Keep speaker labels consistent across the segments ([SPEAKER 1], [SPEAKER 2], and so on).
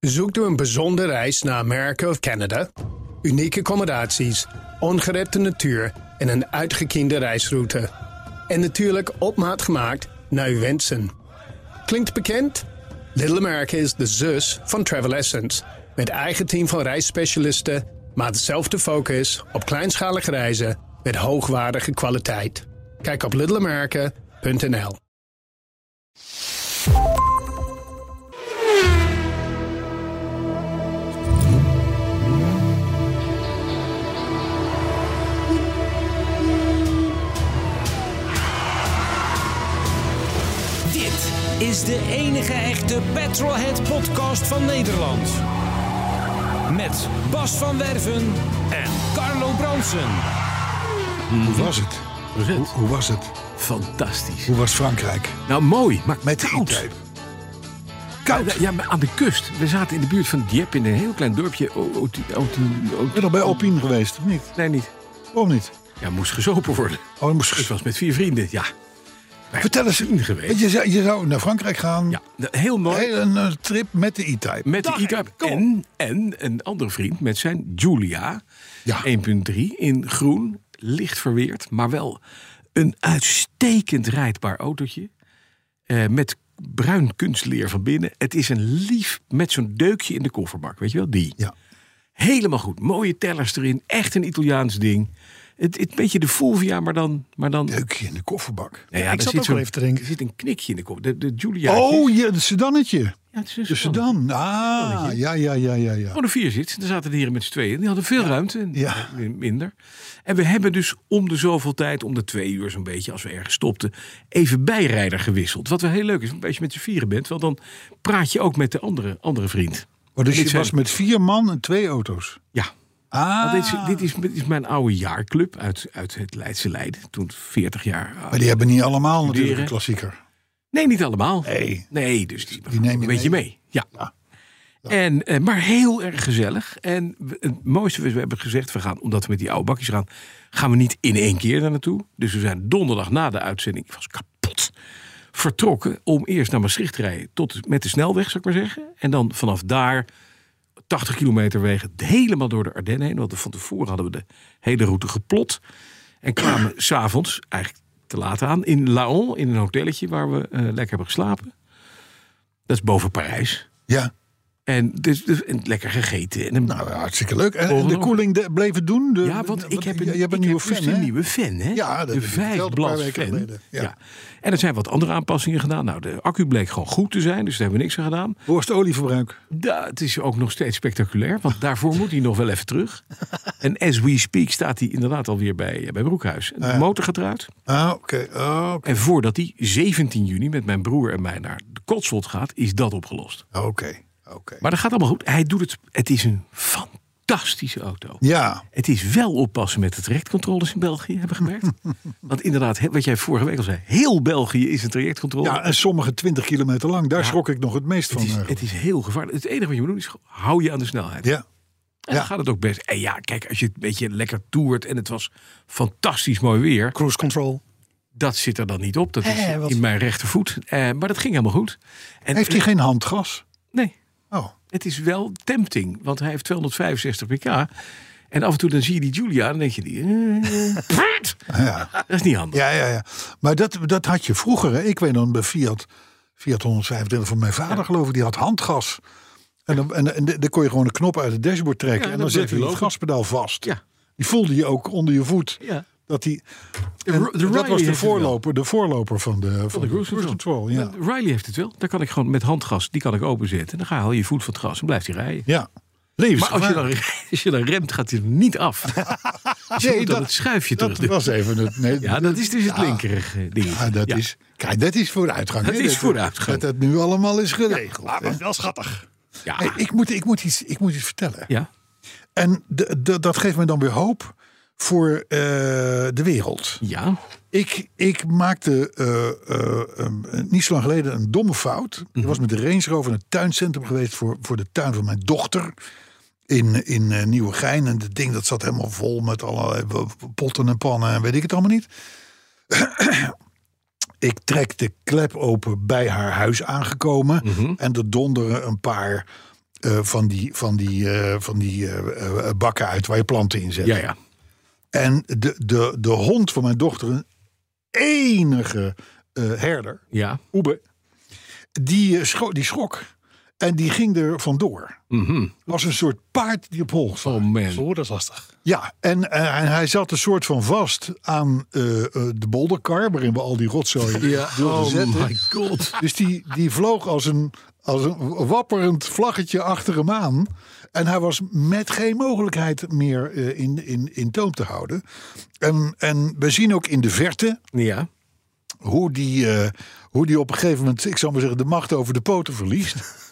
[SPEAKER 1] Zoekt u een bijzondere reis naar Amerika of Canada? Unieke accommodaties, ongerepte natuur en een uitgekiende reisroute. En natuurlijk op maat gemaakt naar uw wensen. Klinkt bekend? Little America is de zus van Travel Essence. Met eigen team van reisspecialisten, maar dezelfde focus op kleinschalige reizen met hoogwaardige kwaliteit. Kijk op littleamerica.nl.
[SPEAKER 2] Dit is de enige echte Petrolhead podcast van Nederland. Met Bas van Werven en Carlo Bronsen.
[SPEAKER 3] Hoe was het? Hoe, hoe was het?
[SPEAKER 4] Fantastisch.
[SPEAKER 3] Hoe was Frankrijk?
[SPEAKER 4] Nou, mooi, maar
[SPEAKER 3] Met de
[SPEAKER 4] koud.
[SPEAKER 3] E-type. Koud.
[SPEAKER 4] Ja, maar aan de kust. We zaten in de buurt van Dieppe in een heel klein dorpje. O, o, o,
[SPEAKER 3] Ik ben nog bij Alpine geweest, of niet?
[SPEAKER 4] nee, niet.
[SPEAKER 3] Waarom niet?
[SPEAKER 4] Ja, moest gezopen worden.
[SPEAKER 3] Oh, je moest
[SPEAKER 4] Het
[SPEAKER 3] ges-
[SPEAKER 4] was met vier vrienden, ja.
[SPEAKER 3] Vertel eens.
[SPEAKER 4] Vrienden geweest.
[SPEAKER 3] Je zou, je zou naar Frankrijk gaan.
[SPEAKER 4] Ja, nou, heel mooi.
[SPEAKER 3] Heel Een eh, trip met de E-Type.
[SPEAKER 4] Met de
[SPEAKER 3] Dag,
[SPEAKER 4] ITAP.
[SPEAKER 3] kom.
[SPEAKER 4] En, en een andere vriend met zijn Julia.
[SPEAKER 3] Ja.
[SPEAKER 4] 1.3 in groen. Licht verweerd, maar wel een uitstekend rijdbaar autootje. Eh, met bruin kunstleer van binnen. Het is een lief met zo'n deukje in de kofferbak. Weet je wel, die.
[SPEAKER 3] Ja.
[SPEAKER 4] Helemaal goed. Mooie tellers erin. Echt een Italiaans ding. Het, het beetje de Fulvia, maar dan... Maar dan
[SPEAKER 3] Deukje in de kofferbak.
[SPEAKER 4] Nou ja,
[SPEAKER 3] ik
[SPEAKER 4] daar
[SPEAKER 3] zat
[SPEAKER 4] zit
[SPEAKER 3] ook wel
[SPEAKER 4] zo'n-
[SPEAKER 3] even te denken.
[SPEAKER 4] Er zit een knikje in de kop. De, de Giulia.
[SPEAKER 3] Oh, je, het sedannetje.
[SPEAKER 4] ja, het is een
[SPEAKER 3] De
[SPEAKER 4] sedan.
[SPEAKER 3] sedan. Ah, ja, ja, ja, ja. ja.
[SPEAKER 4] Oh, de vier zit. Daar zaten de heren met z'n tweeën. Die hadden veel ruimte. en
[SPEAKER 3] Ja.
[SPEAKER 4] eh, Minder. En we hebben dus om de zoveel tijd, om de twee uur zo'n beetje, als we ergens stopten, even bijrijder gewisseld. Wat wel heel leuk is, want als je met z'n vieren bent, want dan praat je ook met de andere, andere vriend.
[SPEAKER 3] Maar dus
[SPEAKER 4] Dit
[SPEAKER 3] je
[SPEAKER 4] zijn-
[SPEAKER 3] was met vier man en twee auto's.
[SPEAKER 4] Ja.
[SPEAKER 3] Ah,
[SPEAKER 4] Want dit, is, dit, is, dit is mijn oude jaarclub uit, uit het Leidse Leiden. Toen 40 jaar. oud.
[SPEAKER 3] maar die hebben niet allemaal natuurlijk
[SPEAKER 4] Studeren.
[SPEAKER 3] een klassieker.
[SPEAKER 4] Nee, niet allemaal.
[SPEAKER 3] Nee.
[SPEAKER 4] Nee, dus die,
[SPEAKER 3] Die neem je
[SPEAKER 4] een beetje mee. Ja. En, eh, maar heel erg gezellig. En we- het mooiste was, we hebben gezegd, we gaan, omdat we met die oude bakjes gaan, gaan we niet in één keer daar naartoe. Dus we zijn donderdag na de uitzending, ik was kapot, vertrokken om eerst naar Maastricht te rijden. Tot met de snelweg, zou ik maar zeggen. En dan vanaf daar 80 kilometer wegen helemaal door de Ardennen heen. Want van tevoren hadden we de hele route geplot. En kwamen s'avonds, eigenlijk te laat aan, in Laon, in een hotelletje waar we eh, lekker hebben geslapen. Dat is boven Parijs.
[SPEAKER 3] Ja,
[SPEAKER 4] En, dus, dus- en lekker gegeten. En een-
[SPEAKER 3] nou ja, hartstikke leuk. En, en
[SPEAKER 4] Volgende
[SPEAKER 3] de
[SPEAKER 4] nog.
[SPEAKER 3] koeling de- bleef het doen? De-
[SPEAKER 4] ja, want ik heb een,
[SPEAKER 3] je- je hebt een
[SPEAKER 4] ik
[SPEAKER 3] nieuwe
[SPEAKER 4] heb dus
[SPEAKER 3] fan, hè?
[SPEAKER 4] een nieuwe fan, hè?
[SPEAKER 3] Ja, dat heb
[SPEAKER 4] de
[SPEAKER 3] je verteld een paar
[SPEAKER 4] vijfblad
[SPEAKER 3] weken
[SPEAKER 4] fan.
[SPEAKER 3] geleden, ja.
[SPEAKER 4] Ja. En er zijn wat andere aanpassingen gedaan. Nou, de accu bleek gewoon goed te zijn, dus daar hebben we niks aan gedaan.
[SPEAKER 3] Hoe was het olieverbruik?
[SPEAKER 4] Da, het is ook nog steeds spectaculair, want daarvoor moet hij nog wel even terug. En as we speak staat hij inderdaad alweer bij, eh, bij Broekhuis. En De motor gaat eruit.
[SPEAKER 3] Ah, oké. ah, oké.
[SPEAKER 4] En voordat hij 17 juni met mijn broer en mij naar de Cotswold gaat, is dat opgelost.
[SPEAKER 3] Oké, oké.
[SPEAKER 4] Maar dat gaat allemaal goed. Hij doet het. Het is een fantastische auto.
[SPEAKER 3] Ja,
[SPEAKER 4] Het is wel oppassen met de trajectcontroles in België, hebben we gemerkt. Want inderdaad, he- wat jij vorige week al zei, heel België is een trajectcontrole.
[SPEAKER 3] ja, en sommige 20 kilometer lang, daar schrok ik nog het meest
[SPEAKER 4] het,
[SPEAKER 3] van.
[SPEAKER 4] is,
[SPEAKER 3] eigenlijk.
[SPEAKER 4] het is heel gevaarlijk. Het enige wat je moet doen is, gewoon, hou je aan de snelheid.
[SPEAKER 3] Ja,
[SPEAKER 4] En dan
[SPEAKER 3] Ja.
[SPEAKER 4] gaat het ook best. En ja, kijk, als je het een beetje lekker toert en het was fantastisch mooi weer.
[SPEAKER 5] Cruise control.
[SPEAKER 4] Dat zit er dan niet op. Dat is
[SPEAKER 5] Hè, wat-
[SPEAKER 4] in mijn rechtervoet. Eh, maar dat ging helemaal goed. En
[SPEAKER 3] heeft hij geen handgas?
[SPEAKER 4] Nee,
[SPEAKER 3] Oh,
[SPEAKER 4] het is wel tempting. Want hij heeft 265 pk. En af en toe dan zie je die Julia en dan denk je die... eh, praat.
[SPEAKER 3] ja,
[SPEAKER 4] dat is niet handig.
[SPEAKER 3] ja, ja. ja. Maar dat, dat had je vroeger, hè? ik weet dan bij Fiat, Fiat 135 van mijn vader geloof ik, die had handgas. En dan, en, en dan kon je gewoon een knop uit het dashboard trekken
[SPEAKER 4] Ja,
[SPEAKER 3] en
[SPEAKER 4] dan
[SPEAKER 3] dan
[SPEAKER 4] bleef
[SPEAKER 3] zette
[SPEAKER 4] hij
[SPEAKER 3] je het
[SPEAKER 4] lopen.
[SPEAKER 3] gaspedaal vast.
[SPEAKER 4] Ja.
[SPEAKER 3] Die voelde je ook onder je voet.
[SPEAKER 4] Ja.
[SPEAKER 3] Dat die,
[SPEAKER 4] De
[SPEAKER 3] en
[SPEAKER 4] Ro- de
[SPEAKER 3] dat
[SPEAKER 4] Riley
[SPEAKER 3] was
[SPEAKER 4] heeft
[SPEAKER 3] de
[SPEAKER 4] het wel. Oh,
[SPEAKER 3] voorloper, de voorloper van de, van de
[SPEAKER 4] cruise control.
[SPEAKER 3] Ja.
[SPEAKER 4] Riley heeft het wel. Daar kan ik gewoon met handgas, die kan ik openzetten. Dan ga haal je je voet van het gas en blijft hij rijden.
[SPEAKER 3] ja.
[SPEAKER 4] Maar als je,
[SPEAKER 3] Levensgevaarlijk.
[SPEAKER 4] dan, als je dan remt, gaat hij er niet af. Dus je
[SPEAKER 3] Nee,
[SPEAKER 4] moet dan
[SPEAKER 3] dat-
[SPEAKER 4] het schuifje terug
[SPEAKER 3] Dat
[SPEAKER 4] doen.
[SPEAKER 3] was even het. Nee,
[SPEAKER 4] Ja, dat is dus het linkerige ding.
[SPEAKER 3] Ah, dat is, kijk, dat is vooruitgang.
[SPEAKER 4] Dat
[SPEAKER 3] hè,
[SPEAKER 4] is vooruitgang.
[SPEAKER 3] Dat dat nu allemaal is geregeld.
[SPEAKER 5] Ah,
[SPEAKER 3] hè.
[SPEAKER 5] maar wel schattig.
[SPEAKER 4] Ja.
[SPEAKER 3] Hey, ik, moet, ik, moet iets, ik moet iets vertellen.
[SPEAKER 4] ja.
[SPEAKER 3] En de- de- dat geeft me dan weer hoop voor eh, de wereld.
[SPEAKER 4] Ja.
[SPEAKER 3] Ik, ik maakte eh, eh, eh, niet zo lang geleden een domme fout. Ik
[SPEAKER 4] Mhm.
[SPEAKER 3] was met de Range Rover in het tuincentrum geweest voor, voor de tuin van mijn dochter. In, in eh, Nieuwegein. En het ding dat zat helemaal vol met allerlei w- potten en pannen en weet ik het allemaal niet. ik
[SPEAKER 4] Mhm.
[SPEAKER 3] trek de klep open bij haar huis aangekomen. En er donderen een paar eh, van die, van die, eh, van die eh, eh, bakken uit waar je planten in zet.
[SPEAKER 4] Ja, ja.
[SPEAKER 3] En de, de, de hond van mijn dochter, een enige eh, herder,
[SPEAKER 4] Ja.
[SPEAKER 3] Oebe, die, eh, scho- die schrok. En die ging er vandoor. Was een soort paard die op hol zat.
[SPEAKER 4] Oh man.
[SPEAKER 5] Oeh, dat is lastig.
[SPEAKER 3] Ja, en, eh, en hij zat een soort van vast aan eh, eh, de bolderkar... waarin we al die rotzooi wilden
[SPEAKER 4] Oh
[SPEAKER 3] zetten.
[SPEAKER 4] my god.
[SPEAKER 3] Dus die, die vloog als een, als een wapperend vlaggetje achter hem aan. En hij was met geen mogelijkheid meer eh, in, in, in toom te houden. En, en we zien ook in de verte
[SPEAKER 4] Ja.
[SPEAKER 3] hoe die, eh, hoe die op een gegeven moment, ik zou maar zeggen, de macht over de poten verliest.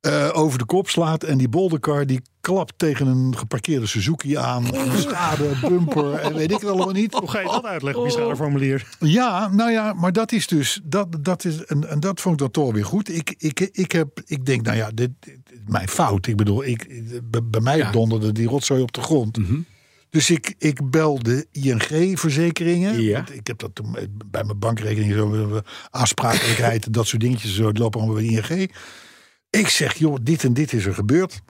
[SPEAKER 3] Eh, over de kop slaat en die boldercar die klapt tegen een geparkeerde Suzuki aan. En Schade, bumper en weet ik het allemaal niet.
[SPEAKER 5] Oh. Hoe ga je dat uitleggen op je schadeformulier?
[SPEAKER 3] Ja, nou ja, maar dat is dus. Dat, dat is, en, en dat vond ik dan toch weer goed. Ik, ik, ik, heb, ik denk, nou ja, dit, dit- mijn fout. Ik bedoel, ik, bij, bij mij
[SPEAKER 4] Ja. Mhm.
[SPEAKER 3] donderde die rotzooi op de grond. Dus ik, ik bel de ING-verzekeringen.
[SPEAKER 4] Ja.
[SPEAKER 3] Want Ik heb dat toen eh, bij mijn bankrekening, zo, eh, aansprakelijkheid, dat soort dingetjes, zo, het lopen allemaal bij de ING. Ik zeg, joh, dit en dit is er gebeurd.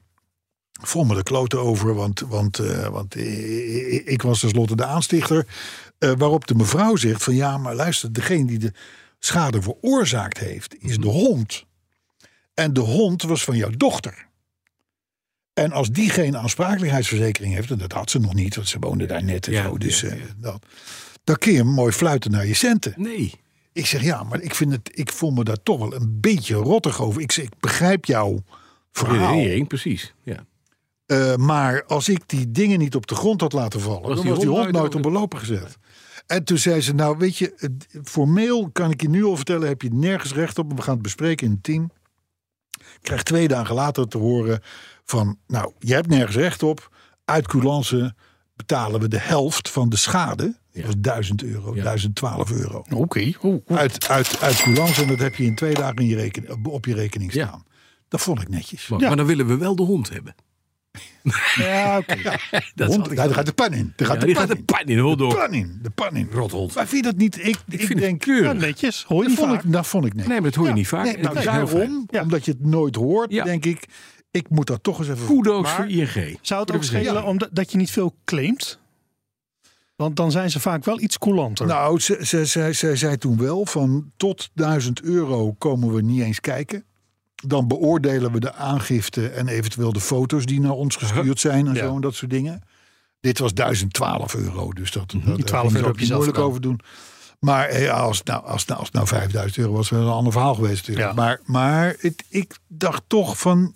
[SPEAKER 3] Vol me de kloten over, want, want, eh, want eh, ik, was tenslotte de aanstichter. Eh, waarop de mevrouw zegt van ja, maar luister, degene die de schade veroorzaakt heeft, is
[SPEAKER 4] Mhm.
[SPEAKER 3] de hond. En de hond was van jouw dochter. En als die geen aansprakelijkheidsverzekering heeft, en dat had ze nog niet, want ze woonde daar net en
[SPEAKER 4] Ja,
[SPEAKER 3] zo,
[SPEAKER 4] ja,
[SPEAKER 3] dus,
[SPEAKER 4] ja.
[SPEAKER 3] eh, dat, dan kun je hem mooi fluiten naar je centen.
[SPEAKER 4] Nee.
[SPEAKER 3] Ik zeg ja, maar ik, vind het, ik voel me daar toch wel een beetje rottig over. Ik, zeg, ik begrijp jouw verhaal.
[SPEAKER 4] Redenering, precies. Ja.
[SPEAKER 3] Eh, maar als ik die dingen niet op de grond had laten vallen,
[SPEAKER 4] Was
[SPEAKER 3] dan
[SPEAKER 4] die
[SPEAKER 3] was die
[SPEAKER 4] hond
[SPEAKER 3] hond
[SPEAKER 4] nooit
[SPEAKER 3] nooit op
[SPEAKER 4] dood.
[SPEAKER 3] belopen gezet. En toen zei ze, nou weet je, het- formeel kan ik je nu al vertellen, heb je nergens recht op. maar We gaan het bespreken in het team. Ik krijg twee dagen later te horen van, nou, je hebt nergens recht op. Uit coulance betalen we de helft van de schade. Dat was 1000 euro,
[SPEAKER 4] Ja.
[SPEAKER 3] 1012 euro.
[SPEAKER 5] Oké.
[SPEAKER 3] Uit, uit, uit coulance en dat heb je in twee dagen in je reken- op- op je rekening
[SPEAKER 4] Ja.
[SPEAKER 3] staan. Dat vond ik netjes.
[SPEAKER 4] Maar, maar dan willen we wel de hond hebben.
[SPEAKER 3] Ja, oké. Ja.
[SPEAKER 4] Dat
[SPEAKER 3] Hond,
[SPEAKER 4] had ik
[SPEAKER 3] daar
[SPEAKER 4] wel.
[SPEAKER 3] gaat de pan in. Daar gaat
[SPEAKER 4] Ja,
[SPEAKER 3] de
[SPEAKER 4] die
[SPEAKER 3] pan
[SPEAKER 4] gaat de
[SPEAKER 3] in.
[SPEAKER 4] pan in, hoor
[SPEAKER 3] De
[SPEAKER 4] door.
[SPEAKER 3] pan in, de pan in.
[SPEAKER 4] Rothond.
[SPEAKER 3] Maar vind je dat niet? Ik, ik,
[SPEAKER 4] vind het
[SPEAKER 3] denk, Nou,
[SPEAKER 5] Ja,
[SPEAKER 4] keurig.
[SPEAKER 5] netjes. Hoor je
[SPEAKER 3] dat
[SPEAKER 5] niet
[SPEAKER 3] vond
[SPEAKER 5] vaak.
[SPEAKER 3] ik, dat vond ik
[SPEAKER 4] Nee,
[SPEAKER 3] nee.
[SPEAKER 4] maar dat hoor je niet vaak.
[SPEAKER 3] nee
[SPEAKER 4] Het
[SPEAKER 3] nou,
[SPEAKER 4] is heel fijn.
[SPEAKER 3] daarom,
[SPEAKER 5] Ja.
[SPEAKER 3] omdat je het nooit hoort,
[SPEAKER 4] Ja.
[SPEAKER 3] denk ik, ik moet dat toch eens even...
[SPEAKER 4] Kudo's
[SPEAKER 5] Maar-
[SPEAKER 4] voor ING.
[SPEAKER 5] Zou het ook schelen
[SPEAKER 3] Ja.
[SPEAKER 5] omdat dat je niet veel claimt? Want dan zijn ze vaak wel iets coulanter.
[SPEAKER 3] Nou, ze, ze, ze, ze zei toen wel van tot 1000 euro komen we niet eens kijken. Dan beoordelen we de aangifte en eventueel de foto's die naar ons gestuurd zijn en
[SPEAKER 5] Ja.
[SPEAKER 3] zo en dat soort dingen. Dit was 1012 euro, dus dat, dat
[SPEAKER 5] Die
[SPEAKER 3] daar
[SPEAKER 5] 12
[SPEAKER 3] ging ze ook
[SPEAKER 5] Mhm. euro heb je
[SPEAKER 3] niet
[SPEAKER 5] zelf
[SPEAKER 3] moeilijk
[SPEAKER 5] gedaan.
[SPEAKER 3] over doen. Maar eh, ja, als het nou, als, het nou, als het nou 5000 euro was, was het een ander verhaal geweest natuurlijk.
[SPEAKER 5] Ja.
[SPEAKER 3] Maar, maar het, ik dacht toch van,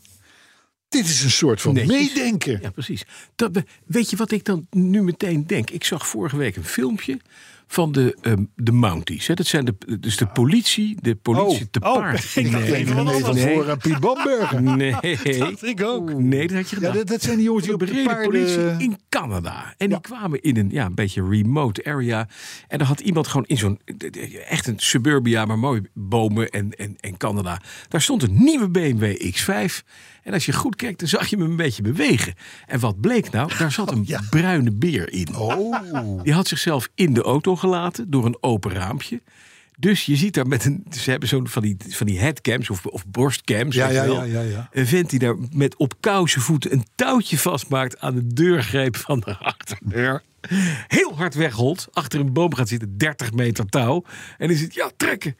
[SPEAKER 3] dit is een soort van
[SPEAKER 4] Netjes.
[SPEAKER 3] meedenken.
[SPEAKER 4] Ja, precies. Dat, be- weet je wat ik dan nu meteen denk? Ik zag vorige week een filmpje van de, ehm, de Mounties. Hè? Dat zijn de, dus de politie, de politie
[SPEAKER 3] Oh,
[SPEAKER 4] te
[SPEAKER 5] oh,
[SPEAKER 4] paard. eh,
[SPEAKER 5] ik dacht
[SPEAKER 4] nee,
[SPEAKER 5] even
[SPEAKER 3] Even
[SPEAKER 5] wat
[SPEAKER 3] René van
[SPEAKER 5] anders.
[SPEAKER 3] Voor en Piet Bamberger.
[SPEAKER 4] nee.
[SPEAKER 5] ik ook.
[SPEAKER 4] Nee, dat had je
[SPEAKER 3] Ja,
[SPEAKER 4] gedaan.
[SPEAKER 3] dat, dat zijn die jongens die
[SPEAKER 4] de
[SPEAKER 3] op de
[SPEAKER 4] bereden
[SPEAKER 3] paarden... eh,
[SPEAKER 4] politie in Canada. En die kwamen in een, ja, een beetje remote area. En dan had iemand gewoon in zo'n, echt een suburbia, maar mooie bomen en, en, en Canada. Daar stond een nieuwe BMW X5. En als je goed kijkt, dan zag je hem een beetje bewegen. En wat bleek nou? Daar zat een bruine beer in.
[SPEAKER 3] Oh.
[SPEAKER 4] Die had zichzelf in de auto gelaten door een open raampje. Dus je ziet daar met een. Ze hebben zo'n van die, van die headcams of, of borstcams.
[SPEAKER 3] Ja,
[SPEAKER 4] weet je
[SPEAKER 3] ja,
[SPEAKER 4] wel.
[SPEAKER 3] ja, ja, ja.
[SPEAKER 4] Een vent die daar met op kousenvoeten een touwtje vastmaakt aan de deurgreep van de achterdeur. Heel hard wegholt. Achter een boom gaat zitten, 30 meter touw. En die zit, ja, trekken.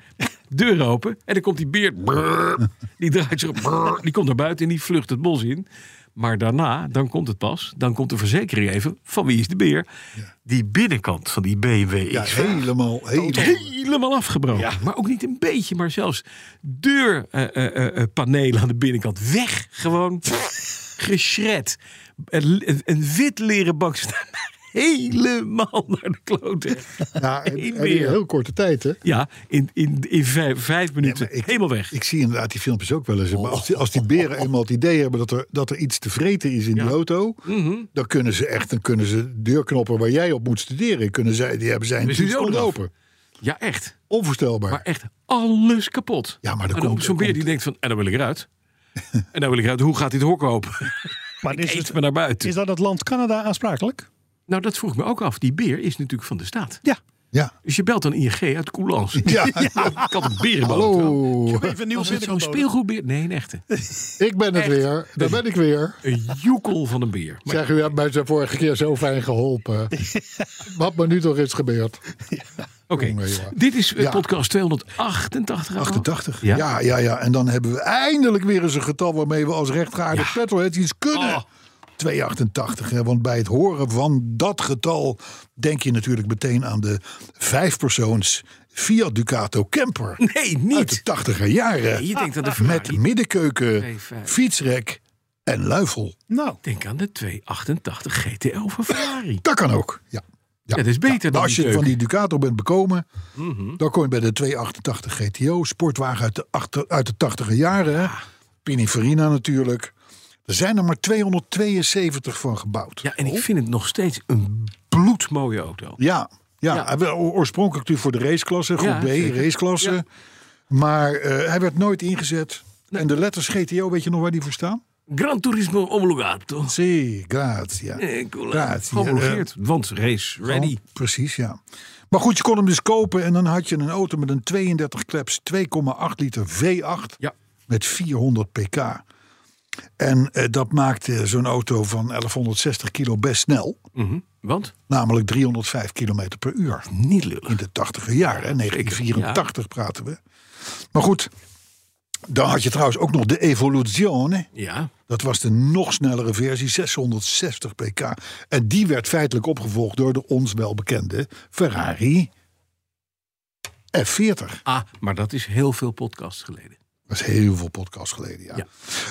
[SPEAKER 4] Deur open. En dan komt die beer. brrr, die draait zich. op, brrr, die komt naar buiten en die vlucht het bos in. Maar daarna, dan komt het pas. Dan komt de verzekering even. Van wie is de beer? Die binnenkant van die BMW
[SPEAKER 3] Ja,
[SPEAKER 4] X5
[SPEAKER 3] helemaal, helemaal.
[SPEAKER 4] helemaal afgebroken. Maar ook niet een beetje, maar zelfs eh, deurpanelen aan de binnenkant weg. Gewoon geschred. Een, een- een wit leren bak staat helemaal naar de kloten.
[SPEAKER 3] Ja, en,
[SPEAKER 4] Geen
[SPEAKER 3] en in
[SPEAKER 4] meer.
[SPEAKER 3] heel korte tijd, hè?
[SPEAKER 4] Ja, in, in, in vijf, vijf minuten
[SPEAKER 3] maar ik-
[SPEAKER 4] helemaal weg.
[SPEAKER 3] Ik zie inderdaad die filmpjes ook wel eens. Maar als die, als die
[SPEAKER 4] Oh.
[SPEAKER 3] beren eenmaal het idee hebben dat er, dat er iets te vreten is in die auto,
[SPEAKER 4] Mhm.
[SPEAKER 3] dan kunnen ze echt, dan kunnen ze deurknoppen waar jij op moet studeren, kunnen zij, die hebben zijn
[SPEAKER 4] Dus die
[SPEAKER 3] toets
[SPEAKER 4] doden af.
[SPEAKER 3] open.
[SPEAKER 4] Ja, echt.
[SPEAKER 3] Onvoorstelbaar.
[SPEAKER 4] Maar echt alles kapot.
[SPEAKER 3] Ja, maar er
[SPEAKER 4] En dan
[SPEAKER 3] komt-
[SPEAKER 4] zo'n
[SPEAKER 3] er
[SPEAKER 4] beer
[SPEAKER 3] komt-
[SPEAKER 4] die denkt van, en dan wil ik eruit. en dan wil ik eruit. Hoe gaat dit hok open?
[SPEAKER 5] Maar is,
[SPEAKER 4] Eet
[SPEAKER 5] het,
[SPEAKER 4] me naar buiten.
[SPEAKER 5] is dat het land Canada aansprakelijk?
[SPEAKER 4] Nou, dat vroeg ik me ook af. Die beer is natuurlijk van de staat.
[SPEAKER 5] Ja.
[SPEAKER 3] Ja.
[SPEAKER 4] Dus je belt dan ING uit Coulans.
[SPEAKER 3] Ja.
[SPEAKER 4] Ik had een berenboot. wel.
[SPEAKER 3] Hallo,
[SPEAKER 5] Even een nieuw
[SPEAKER 4] Was het
[SPEAKER 5] zitten
[SPEAKER 4] zo'n speelgoedbeer? Nee, een echte.
[SPEAKER 3] ik ben het weer. Daar ben ik weer.
[SPEAKER 4] Een joekel van een beer. Maar
[SPEAKER 3] Zeg, u hebt mij zo vorige keer zo fijn geholpen. Wat me nu toch is gebeurd.
[SPEAKER 4] Oké,
[SPEAKER 3] jongen, jongen.
[SPEAKER 4] dit is eh,
[SPEAKER 3] Ja.
[SPEAKER 4] podcast 288.
[SPEAKER 3] 88.
[SPEAKER 4] Ja.
[SPEAKER 3] Ja. ja, ja, En dan hebben we eindelijk weer eens een getal waarmee we als rechtgeaarde petrolheads iets kunnen.
[SPEAKER 4] Oh.
[SPEAKER 3] 288. Hè, want bij het horen van dat getal denk je natuurlijk meteen aan de vijfpersoons Fiat Ducato camper.
[SPEAKER 4] Nee,
[SPEAKER 3] Uit de
[SPEAKER 4] niet.
[SPEAKER 3] 80er jaren.
[SPEAKER 4] Nee, je denkt aan de
[SPEAKER 3] Met
[SPEAKER 4] Ferrari.
[SPEAKER 3] middenkeuken,
[SPEAKER 4] Twee, vijf.
[SPEAKER 3] fietsrek en luifel.
[SPEAKER 5] Nou,
[SPEAKER 4] Denk aan de 288 GTL van Ferrari.
[SPEAKER 3] Dat kan ook. Ja.
[SPEAKER 4] Ja, dat is beter dan
[SPEAKER 3] Als
[SPEAKER 4] die Mhm.
[SPEAKER 3] je
[SPEAKER 4] keuken.
[SPEAKER 3] van die Ducato bent bekomen, dan kom je bij de 288 GTO, sportwagen uit de, achter, uit de 80e jaren. hè. Pininfarina natuurlijk. Er zijn er maar 272 van gebouwd.
[SPEAKER 4] Ja, en ik vind het nog steeds een bloedmooie auto.
[SPEAKER 3] Ja, ja,
[SPEAKER 4] Ja.
[SPEAKER 3] hij wel o- oorspronkelijk natuurlijk voor de raceklasse, groep
[SPEAKER 4] Ja,
[SPEAKER 3] B,
[SPEAKER 4] zeker.
[SPEAKER 3] raceklasse.
[SPEAKER 4] Ja.
[SPEAKER 3] Maar eh, hij werd nooit ingezet. En de letters GTO, weet je nog waar die voor staan?
[SPEAKER 4] Gran Turismo Omologato.
[SPEAKER 3] Sì, grazie.
[SPEAKER 4] Eh, cool.
[SPEAKER 3] Grazie.
[SPEAKER 4] Geomologeerd, want race ready.
[SPEAKER 3] Oh, precies, ja. Maar goed, je kon hem dus kopen en dan had je een auto met een 32 kleps 2,8 liter V8
[SPEAKER 4] Ja.
[SPEAKER 3] met 400 pk. En eh, dat maakte zo'n auto van 1160 kilo best snel.
[SPEAKER 4] Mhm. Want?
[SPEAKER 3] Namelijk 305 kilometer per uur.
[SPEAKER 4] Niet lullig.
[SPEAKER 3] In de 80e jaren, hè, 1984 praten we. Maar goed, dan had je trouwens ook nog de Evoluzione.
[SPEAKER 4] Ja,
[SPEAKER 3] Dat was de nog snellere versie, 660 pk. En die werd feitelijk opgevolgd door de ons welbekende Ferrari F40.
[SPEAKER 4] ah, maar dat is heel veel podcasts geleden.
[SPEAKER 3] Dat is heel veel podcast geleden, ja.
[SPEAKER 4] Ja.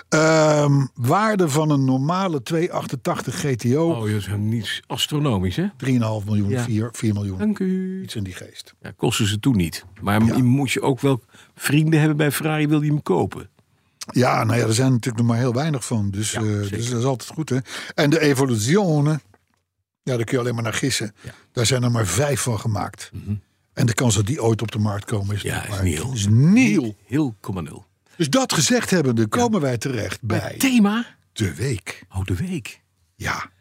[SPEAKER 3] Ehm, waarde van een normale 288 GTO,
[SPEAKER 4] Oh, dat is niets astronomisch, hè?
[SPEAKER 3] 3,5 miljoen,
[SPEAKER 4] Ja.
[SPEAKER 3] 4, 4 miljoen.
[SPEAKER 4] Dank u.
[SPEAKER 3] Iets in die geest.
[SPEAKER 4] Ja, kosten ze toen niet. Maar
[SPEAKER 3] Ja.
[SPEAKER 4] moet je ook wel vrienden hebben bij Ferrari, wil je hem kopen?
[SPEAKER 3] Ja, nou ja, er zijn natuurlijk nog maar heel weinig van. Dus,
[SPEAKER 4] Ja,
[SPEAKER 3] eh,
[SPEAKER 4] zeker.
[SPEAKER 3] dus dat is altijd goed, hè. En de Evoluzione, ja, daar kun je alleen maar naar gissen.
[SPEAKER 4] Ja. Mhm.
[SPEAKER 3] Daar zijn er maar vijf van gemaakt. En de kans dat die ooit op de markt komen is,
[SPEAKER 4] Ja,
[SPEAKER 3] natuurlijk maar-
[SPEAKER 4] is nihil.
[SPEAKER 3] is nihil.
[SPEAKER 4] Heel, komma nul.
[SPEAKER 3] Dus dat gezegd hebbende komen wij terecht bij
[SPEAKER 4] Het thema?
[SPEAKER 3] de week.
[SPEAKER 4] Oh, de week.
[SPEAKER 3] Ja,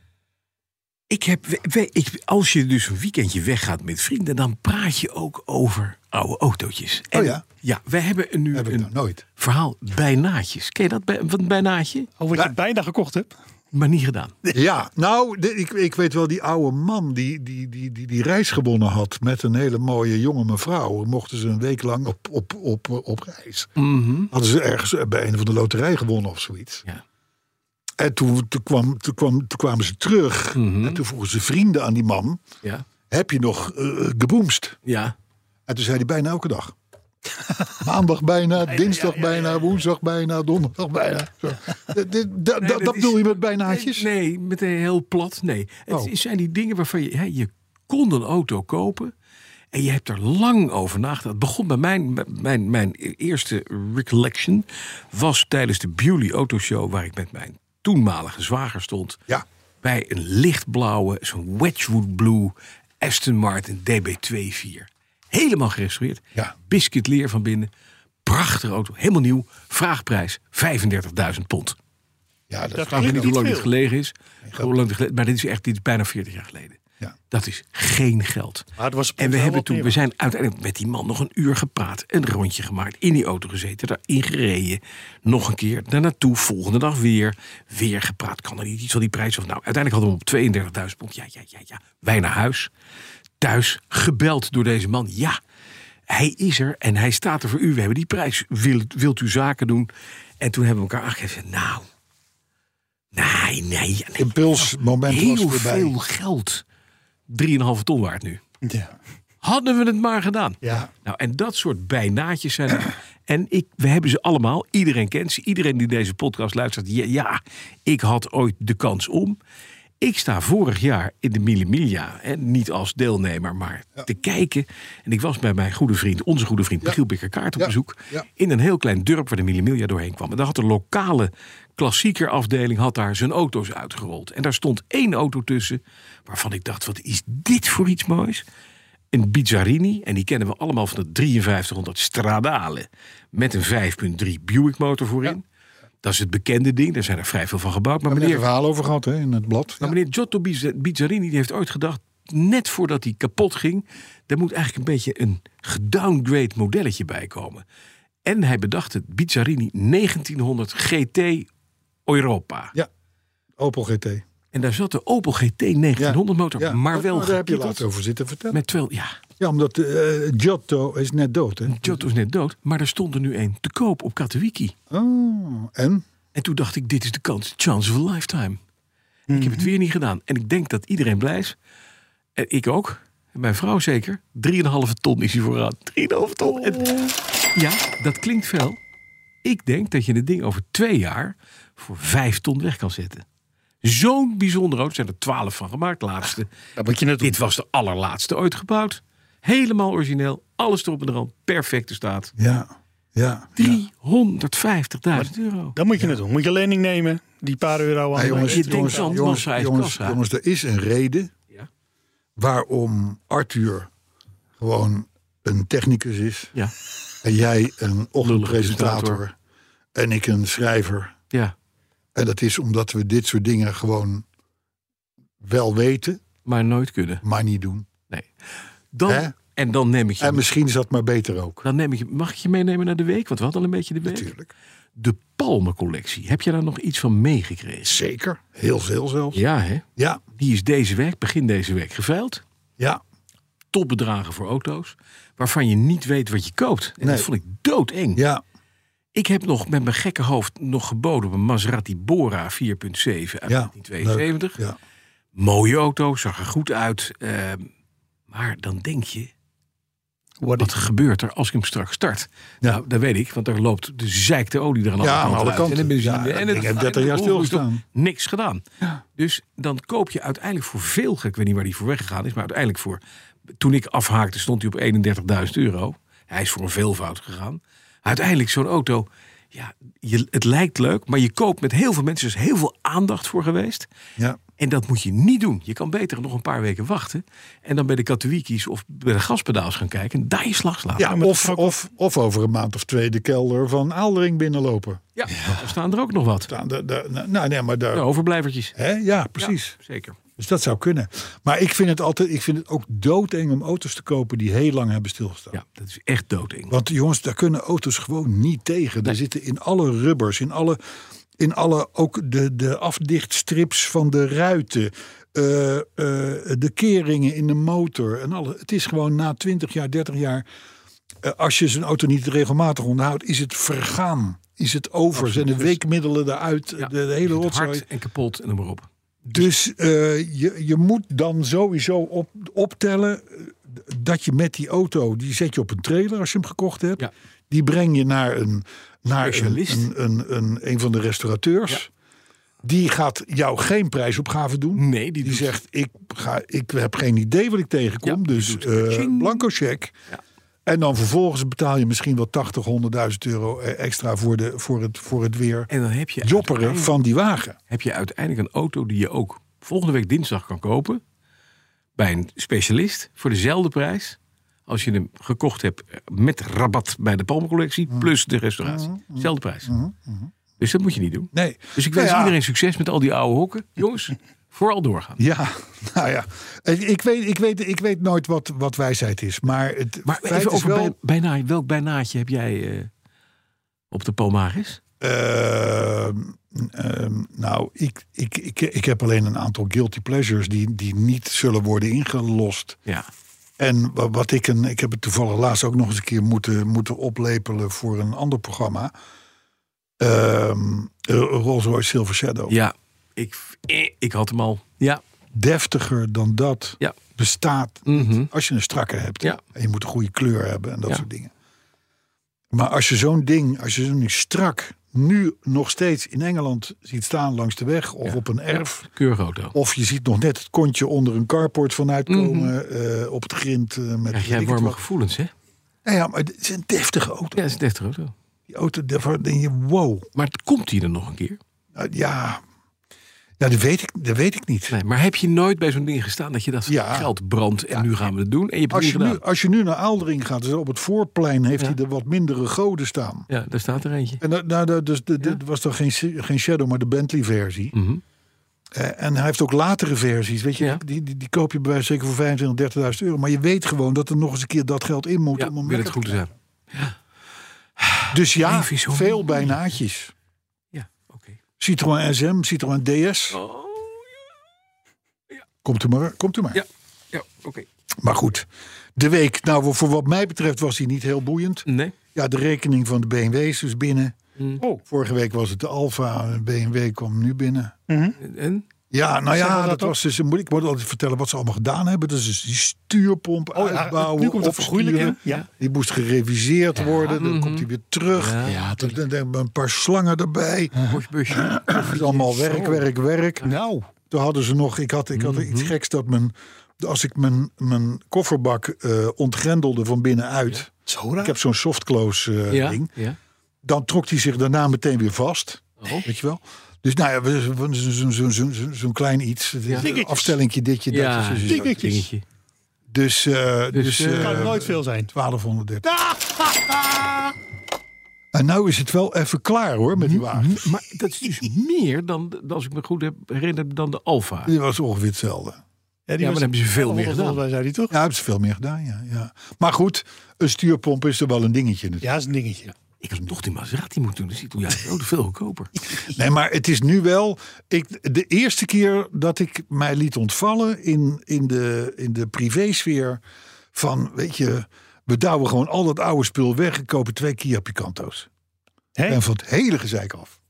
[SPEAKER 4] Ik heb, we- we- ik, als je dus een weekendje weggaat met vrienden, dan praat je ook over oude autootjes.
[SPEAKER 3] Oh ja?
[SPEAKER 4] Ja, wij hebben nu
[SPEAKER 3] heb ik
[SPEAKER 4] een
[SPEAKER 3] nog nou nooit.
[SPEAKER 4] verhaal bijnaatjes. Ken je dat, bij, wat een bijnaatje?
[SPEAKER 5] al wat je bijna gekocht hebt.
[SPEAKER 4] Maar niet gedaan.
[SPEAKER 3] Ja, nou, de- ik, ik weet wel die oude man die die, die, die die reis gewonnen had met een hele mooie jonge mevrouw. Mochten ze een week lang op, op, op, op reis. Hadden ze ergens bij een van de loterij gewonnen of zoiets.
[SPEAKER 4] Ja.
[SPEAKER 3] En toen, toen, kwam, toen, kwam, toen kwamen ze terug. En toen vroegen ze vrienden aan die man:
[SPEAKER 4] Ja.
[SPEAKER 3] Heb je nog eh geboomst?
[SPEAKER 4] Ja.
[SPEAKER 3] En toen zei hij bijna elke dag. Maandag bijna, dinsdag bijna, woensdag bijna, donderdag bijna. Zo. Eh, Dit- dit- da- da-
[SPEAKER 4] dit
[SPEAKER 3] dat
[SPEAKER 4] is-
[SPEAKER 3] bedoel je met bijnaatjes?
[SPEAKER 4] Nee, nee, meteen heel plat. Nee. Het
[SPEAKER 3] Oh.
[SPEAKER 4] is- zijn die dingen waarvan je. Hè, je kon een auto kopen. En je hebt er lang over nagedacht. Het begon bij mijn, bij mijn, mijn eerste recollection. Was tijdens de Beauty Auto Show. Waar ik met mijn toenmalige zwager stond.
[SPEAKER 3] Ja.
[SPEAKER 4] Bij een lichtblauwe, zo'n Wedgwood Blue Aston Martin DB24. Helemaal gerestaureerd.
[SPEAKER 3] Ja.
[SPEAKER 4] Biscuitleer van binnen. Prachtige auto. Helemaal nieuw. Vraagprijs 35.000 pond.
[SPEAKER 3] Ja, dat,
[SPEAKER 5] Dat
[SPEAKER 3] kan je
[SPEAKER 5] klinkt
[SPEAKER 3] niet
[SPEAKER 4] Ik weet niet hoe
[SPEAKER 5] veel.
[SPEAKER 4] lang dit gelegen is. Hoe lang dit gelegen, maar dit is echt dit is bijna 40 jaar geleden.
[SPEAKER 3] Ja.
[SPEAKER 4] Dat is geen geld.
[SPEAKER 5] Maar het was
[SPEAKER 4] en we,
[SPEAKER 5] wel
[SPEAKER 4] hebben
[SPEAKER 5] wat
[SPEAKER 4] toen,
[SPEAKER 5] meer.
[SPEAKER 4] we zijn uiteindelijk met die man nog een uur gepraat. Een rondje gemaakt. In die auto gezeten. Daarin gereden. Nog een keer. Daar naartoe. Volgende dag weer. Weer gepraat. Kan er niet iets van die prijs? Of nou, uiteindelijk hadden we hem op 32.000 pond. Ja, ja, ja, ja. Wij naar huis. Thuis. Gebeld door deze man. Ja. Hij is er en hij staat er voor u. We hebben die prijs. Wilt, wilt u zaken doen? En toen hebben we elkaar aangegeven. Nou. Nee, nee. ja, nee
[SPEAKER 3] Impulsmoment was
[SPEAKER 4] heel
[SPEAKER 3] voorbij.
[SPEAKER 4] veel geld. 3,5 ton waard nu.
[SPEAKER 5] Ja.
[SPEAKER 4] Hadden we het maar gedaan.
[SPEAKER 3] Ja.
[SPEAKER 4] Nou, en dat soort bijnaatjes zijn. er. en ik, we hebben ze allemaal. Iedereen kent ze. Iedereen die deze podcast luistert. Ja, ja, ik had ooit de kans om. Ik sta vorig jaar in de Mille Miglia. Hè, niet als deelnemer, maar te kijken. En ik was bij mijn goede vriend, onze goede vriend Michiel Bikkerkaart op
[SPEAKER 3] Ja.
[SPEAKER 4] bezoek.
[SPEAKER 3] Ja.
[SPEAKER 4] In een heel klein dorp waar de Mille Miglia doorheen kwam. En daar had de lokale klassiekerafdeling had daar zijn auto's uitgerold. En daar stond één auto tussen. Waarvan ik dacht, wat is dit voor iets moois? Een Bizzarini, en die kennen we allemaal van de 5300 Stradale. Met een 5.3 Buick motor voorin. Dat is het bekende ding, daar zijn er vrij veel van gebouwd. Maar
[SPEAKER 3] We hebben
[SPEAKER 4] meneer,
[SPEAKER 3] er een verhaal over gehad hè, in het blad.
[SPEAKER 4] maar meneer Giotto Bizz- Bizzarini die heeft ooit gedacht... net voordat die kapot ging, daar moet eigenlijk een beetje een gedowngrade modelletje bij komen. En hij bedacht het Bizzarini 1900 GT Europa.
[SPEAKER 3] Opel GT.
[SPEAKER 4] En daar zat de Opel GT 1900 motor,
[SPEAKER 3] Ja. Nou,
[SPEAKER 4] maar wel
[SPEAKER 3] Daar heb je
[SPEAKER 4] gekieteld
[SPEAKER 3] later over zitten vertellen.
[SPEAKER 4] Met terwijl, ja,
[SPEAKER 3] Ja, omdat eh Giotto is net dood, hè?
[SPEAKER 4] Giotto is net dood, maar er stond er nu een te koop op Katowiki.
[SPEAKER 3] Oh, en?
[SPEAKER 4] En toen dacht ik, dit is de kans, chance of a lifetime. Ik
[SPEAKER 5] Mhm.
[SPEAKER 4] heb het weer niet gedaan. En ik denk dat iedereen blij is. En ik ook. En mijn vrouw zeker. 3,5 ton is hij vooraan. 3,5 ton. En- ja, dat klinkt veel. Ik denk dat je het ding over twee jaar voor 5 ton weg kan zetten. Zo'n bijzonder auto. Er zijn er 12 van gemaakt, laatste.
[SPEAKER 5] Dat moet je net
[SPEAKER 4] Dit was de allerlaatste ooit gebouwd. Helemaal origineel. Alles erop en eraan. Perfecte staat.
[SPEAKER 3] Ja, ja.
[SPEAKER 4] 350.000 euro.
[SPEAKER 5] Dat moet je net doen. Moet je lening nemen, die paar euro aan
[SPEAKER 3] Ja,
[SPEAKER 5] de
[SPEAKER 3] jongens,
[SPEAKER 5] bank.
[SPEAKER 4] je denkt
[SPEAKER 3] jongens,
[SPEAKER 4] dan
[SPEAKER 3] jongens,
[SPEAKER 4] massa uit
[SPEAKER 3] jongens,
[SPEAKER 4] kassa.
[SPEAKER 3] jongens, er is een reden
[SPEAKER 4] Ja.
[SPEAKER 3] waarom Arthur gewoon een technicus is.
[SPEAKER 4] Ja,
[SPEAKER 3] En jij een
[SPEAKER 4] presentator.
[SPEAKER 3] ochtendpresentator. En ik een schrijver.
[SPEAKER 4] ja.
[SPEAKER 3] En dat is omdat we dit soort dingen gewoon wel weten,
[SPEAKER 4] Maar nooit kunnen.
[SPEAKER 3] maar niet doen. Hè?
[SPEAKER 4] Dan, en dan neem ik je
[SPEAKER 3] En misschien is dat maar beter ook.
[SPEAKER 4] Dan neem ik je, mag ik je meenemen naar de week? Want we hadden al een beetje de week.
[SPEAKER 3] Natuurlijk.
[SPEAKER 4] De Palmencollectie. Heb je daar nog iets van meegekregen?
[SPEAKER 3] Zeker. Heel veel zelfs.
[SPEAKER 4] Ja, hè?
[SPEAKER 3] Ja,
[SPEAKER 4] Die is deze week, begin deze week, geveild.
[SPEAKER 3] ja.
[SPEAKER 4] Topbedragen voor auto's. Waarvan je niet weet wat je koopt. En
[SPEAKER 3] Nee.
[SPEAKER 4] dat vond ik doodeng.
[SPEAKER 3] Ja,
[SPEAKER 4] Ik heb nog met mijn gekke hoofd nog geboden op een Maserati Bora 4.7 uit
[SPEAKER 3] ja.
[SPEAKER 4] 1972.
[SPEAKER 3] Leuk, Ja.
[SPEAKER 4] Mooie auto, zag er goed uit. eh, maar dan denk je,
[SPEAKER 5] What
[SPEAKER 4] Wat gebeurt er als ik hem straks start?
[SPEAKER 3] Ja.
[SPEAKER 4] Nou, dat weet ik, want er loopt de zeikte olie er aan alle
[SPEAKER 3] Ja, aan
[SPEAKER 4] kanten
[SPEAKER 3] alle
[SPEAKER 4] uit.
[SPEAKER 3] kanten.
[SPEAKER 4] En de benzine.
[SPEAKER 3] Ja,
[SPEAKER 4] en
[SPEAKER 3] ik
[SPEAKER 4] het,
[SPEAKER 3] heb
[SPEAKER 4] en
[SPEAKER 3] 30 jaar
[SPEAKER 4] het ongeluk is toch
[SPEAKER 3] stilgestaan.
[SPEAKER 4] Niks gedaan. Dus dan koop je uiteindelijk voor veel, ik weet niet waar die voor weggegaan is, maar uiteindelijk voor, toen ik afhaakte stond hij op 31.000 euro. Hij is voor een veelvoud gegaan. Uiteindelijk zo'n auto, ja, je, het lijkt leuk, maar je koopt met heel veel mensen, er is heel veel aandacht voor geweest.
[SPEAKER 3] ja.
[SPEAKER 4] En dat moet je niet doen. Je kan beter nog een paar weken wachten. En dan bij de Katowiki's of bij de gaspedaals gaan kijken. En daar je slag slaan.
[SPEAKER 3] Ja, of, of, of over een maand of twee de kelder van Aaldering binnenlopen.
[SPEAKER 4] Ja, dan staan er ook nog wat.
[SPEAKER 3] Daar- daar- daar- nou, nee, maar daar.
[SPEAKER 4] De overblijvertjes.
[SPEAKER 3] Hè? Ja, precies.
[SPEAKER 4] Ja, zeker.
[SPEAKER 3] Dus dat zou kunnen. Maar ik vind het altijd, ik vind het ook doodeng om auto's te kopen die heel lang hebben stilgestaan.
[SPEAKER 4] Ja, dat is echt doodeng.
[SPEAKER 3] Want jongens, daar kunnen auto's gewoon niet tegen. Daar zitten in alle rubbers, in alle, in alle ook de, de afdichtstrips van de ruiten. eh, eh, de keringen in de motor en alle. Het is gewoon na 20 jaar, 30 jaar. eh, als je zijn auto niet regelmatig onderhoudt, is het vergaan. Is het over? Zijn de weekmiddelen eruit?
[SPEAKER 4] Ja,
[SPEAKER 3] de, de hele
[SPEAKER 4] Het
[SPEAKER 3] rotzooi.
[SPEAKER 4] hard en kapot en noem maar op.
[SPEAKER 3] Dus eh, je, je moet dan sowieso op, optellen eh, dat je met die auto, die zet je op een trailer als je hem gekocht hebt.
[SPEAKER 4] Ja.
[SPEAKER 3] Die breng je naar een, naar een,
[SPEAKER 4] Specialist.
[SPEAKER 3] een, een, een, een van de restaurateurs. Die gaat jou geen prijsopgave doen.
[SPEAKER 4] Nee, die
[SPEAKER 3] die
[SPEAKER 4] doet-
[SPEAKER 3] zegt, ik, ga, ik heb geen idee wat ik tegenkom.
[SPEAKER 4] Ja, die
[SPEAKER 3] dus
[SPEAKER 4] doet het.
[SPEAKER 3] eh,
[SPEAKER 4] Tjing.
[SPEAKER 3] blanco check.
[SPEAKER 4] Ja.
[SPEAKER 3] En dan vervolgens betaal je misschien wel 80, 100.000 euro eh, extra voor, de, voor, het, voor het weer
[SPEAKER 4] En dan heb je,
[SPEAKER 3] jopperen
[SPEAKER 4] uiteindelijk-
[SPEAKER 3] van die wagen.
[SPEAKER 4] heb je uiteindelijk een auto die je ook volgende week dinsdag kan kopen. Bij een specialist voor dezelfde prijs. Als je hem gekocht hebt eh, met rabat bij de Palmencollectie.
[SPEAKER 3] Mhm.
[SPEAKER 4] Plus de restauratie. Zelfde prijs. Dus dat moet je niet doen.
[SPEAKER 3] Nee.
[SPEAKER 4] Dus ik
[SPEAKER 3] Nou
[SPEAKER 4] wens
[SPEAKER 3] ja,
[SPEAKER 4] iedereen succes met al die oude hokken. Jongens, vooral doorgaan.
[SPEAKER 3] Ja, nou ja. Ik, ik, weet, ik, weet, ik weet nooit wat, wat wijsheid is. Maar het
[SPEAKER 4] Maar
[SPEAKER 3] feit
[SPEAKER 4] even
[SPEAKER 3] is
[SPEAKER 4] over
[SPEAKER 3] wel...
[SPEAKER 4] bij, bijna, welk bijnaatje heb jij eh, op de Palmaris?
[SPEAKER 3] Ehm, ehm, nou, ik, ik, ik, ik heb alleen een aantal guilty pleasures... die, die niet zullen worden ingelost.
[SPEAKER 4] Ja.
[SPEAKER 3] En wa- wat ik een, ik heb het toevallig laatst ook nog eens een keer moeten, moeten oplepelen voor een ander programma. Ehm Rolls Royce Silver Shadow.
[SPEAKER 4] Ja, ik, eh, ik had hem al. Ja.
[SPEAKER 3] Deftiger dan dat
[SPEAKER 4] Ja.
[SPEAKER 3] bestaat
[SPEAKER 4] Mhm.
[SPEAKER 3] Als je een strakke hebt.
[SPEAKER 4] Ja.
[SPEAKER 3] En je moet een goede kleur hebben en dat
[SPEAKER 4] Ja.
[SPEAKER 3] soort dingen. Maar als je zo'n ding, als je zo'n ding strak nu nog steeds in Engeland ziet staan langs de weg of
[SPEAKER 4] Ja.
[SPEAKER 3] op een erf.
[SPEAKER 4] Keurige auto.
[SPEAKER 3] Of je ziet nog net het kontje onder een carport vanuit komen. eh, op het grind. eh, met
[SPEAKER 4] Mhm. Krijg
[SPEAKER 3] weet
[SPEAKER 4] jij
[SPEAKER 3] ik het
[SPEAKER 4] warme
[SPEAKER 3] wat.
[SPEAKER 4] gevoelens, hè? Ja,
[SPEAKER 3] Nou ja, maar het is een deftige auto.
[SPEAKER 4] dat is een deftige auto.
[SPEAKER 3] Die auto, daarvan denk je, wow.
[SPEAKER 4] Maar het komt hij er nog een keer?
[SPEAKER 3] Nou, ja, nou, dat, weet ik, dat weet ik niet.
[SPEAKER 4] Nee, maar heb je nooit bij zo'n ding gestaan dat je dacht,
[SPEAKER 3] Ja.
[SPEAKER 4] geld brandt en nu gaan we het doen? En je hebt
[SPEAKER 3] Als,
[SPEAKER 4] het niet
[SPEAKER 3] je nu,
[SPEAKER 4] gedaan.
[SPEAKER 3] als je nu naar Aaldering gaat, dus op het voorplein heeft
[SPEAKER 4] Ja.
[SPEAKER 3] hij de wat mindere goden staan.
[SPEAKER 4] Ja, daar staat er eentje.
[SPEAKER 3] En dat, nou, dat- dus de- dit was dan geen, si- geen Shadow, maar de Bentley-versie.
[SPEAKER 4] Mhm.
[SPEAKER 3] Eh, en hij heeft ook latere versies. Weet je,
[SPEAKER 4] Ja.
[SPEAKER 3] die, die, die koop je bij wijze van zeker voor 25.000, 30.000 euro. Maar je weet gewoon dat er nog eens een keer dat geld in moet.
[SPEAKER 4] Ja,
[SPEAKER 3] om hem
[SPEAKER 4] wil het
[SPEAKER 3] lekker
[SPEAKER 4] goed
[SPEAKER 3] te
[SPEAKER 4] zijn.
[SPEAKER 3] krijgen. Dus ja,
[SPEAKER 4] Leven is zo
[SPEAKER 3] veel
[SPEAKER 4] mooi.
[SPEAKER 3] bijnaatjes.
[SPEAKER 4] Ja, oké.
[SPEAKER 3] Citroën SM, Citroën DS. Komt u maar. Komt u maar.
[SPEAKER 4] Ja, ja oké.
[SPEAKER 3] Maar goed, de week. Nou, voor wat mij betreft was die niet heel boeiend.
[SPEAKER 4] Nee.
[SPEAKER 3] Ja, de rekening van de BMW is dus binnen.
[SPEAKER 4] Mm.
[SPEAKER 5] Oh.
[SPEAKER 3] Vorige week was het de Alfa. en de BMW kwam nu binnen.
[SPEAKER 4] En?
[SPEAKER 3] Ja, nou
[SPEAKER 5] Zeggen
[SPEAKER 3] ja,
[SPEAKER 5] we
[SPEAKER 3] dat,
[SPEAKER 5] dat ook?
[SPEAKER 3] was dus een moeilijk. Ik moet altijd vertellen wat ze allemaal gedaan hebben. Dat is dus die stuurpomp
[SPEAKER 5] Oh ja,
[SPEAKER 3] uitbouwen.
[SPEAKER 5] nu komt het
[SPEAKER 3] opsturen.
[SPEAKER 5] vergoeilijken. Ja.
[SPEAKER 3] Die moest gereviseerd worden. Dan komt die weer terug.
[SPEAKER 5] mhm. Ja,
[SPEAKER 3] Dan, dan- dan een paar slangen erbij.
[SPEAKER 4] Postbusje.
[SPEAKER 3] Het is allemaal werk, werk, werk.
[SPEAKER 5] Nou,
[SPEAKER 3] Toen hadden ze nog, ik had, ik had iets
[SPEAKER 5] Mhm.
[SPEAKER 3] geks dat mijn, als ik mijn, mijn kofferbak eh, ontgrendelde van binnenuit.
[SPEAKER 5] zo
[SPEAKER 3] Ik heb zo'n softclose eh,
[SPEAKER 4] Ja.
[SPEAKER 3] ding.
[SPEAKER 4] ja.
[SPEAKER 3] Dan trok hij zich daarna meteen weer vast.
[SPEAKER 4] Oh.
[SPEAKER 3] Weet je wel? Dus nou ja, we- we- zo- zo- zo- zo- zo- zo'n klein iets. Een
[SPEAKER 5] Dingetjes.
[SPEAKER 3] afstellingje, ditje, dat.
[SPEAKER 4] Ja,
[SPEAKER 3] dus,
[SPEAKER 4] dat
[SPEAKER 5] dingetjes.
[SPEAKER 4] dingetje.
[SPEAKER 3] dus, eh, dus,
[SPEAKER 4] eh,
[SPEAKER 3] eh,
[SPEAKER 5] kan nooit veel zijn.
[SPEAKER 3] 1230. En nou is het wel even klaar hoor, met die
[SPEAKER 4] Mhm,
[SPEAKER 3] wagen.
[SPEAKER 4] Maar dat is dus meer dan, dan, als ik me goed heb herinner, dan de Alfa.
[SPEAKER 3] Die was ongeveer hetzelfde.
[SPEAKER 4] Ja, maar dan hebben ze veel meer gedaan.
[SPEAKER 5] Wij zei die toch?
[SPEAKER 3] Ja, hebben ze veel meer gedaan, ja, ja. Maar goed, een stuurpomp is er wel een dingetje natuurlijk.
[SPEAKER 5] Ja, is een dingetje.
[SPEAKER 4] Ik had toch die Maserati moeten doen. Dat is Italiaans auto veel goedkoper.
[SPEAKER 3] Nee, maar het is nu wel. Ik, de eerste keer dat ik mij liet ontvallen in, in, de, in de privésfeer. Van weet je, we douwen gewoon al dat oude spul weg en kopen twee Kia Picanto's.
[SPEAKER 5] Hè?
[SPEAKER 3] En van het hele gezeik af.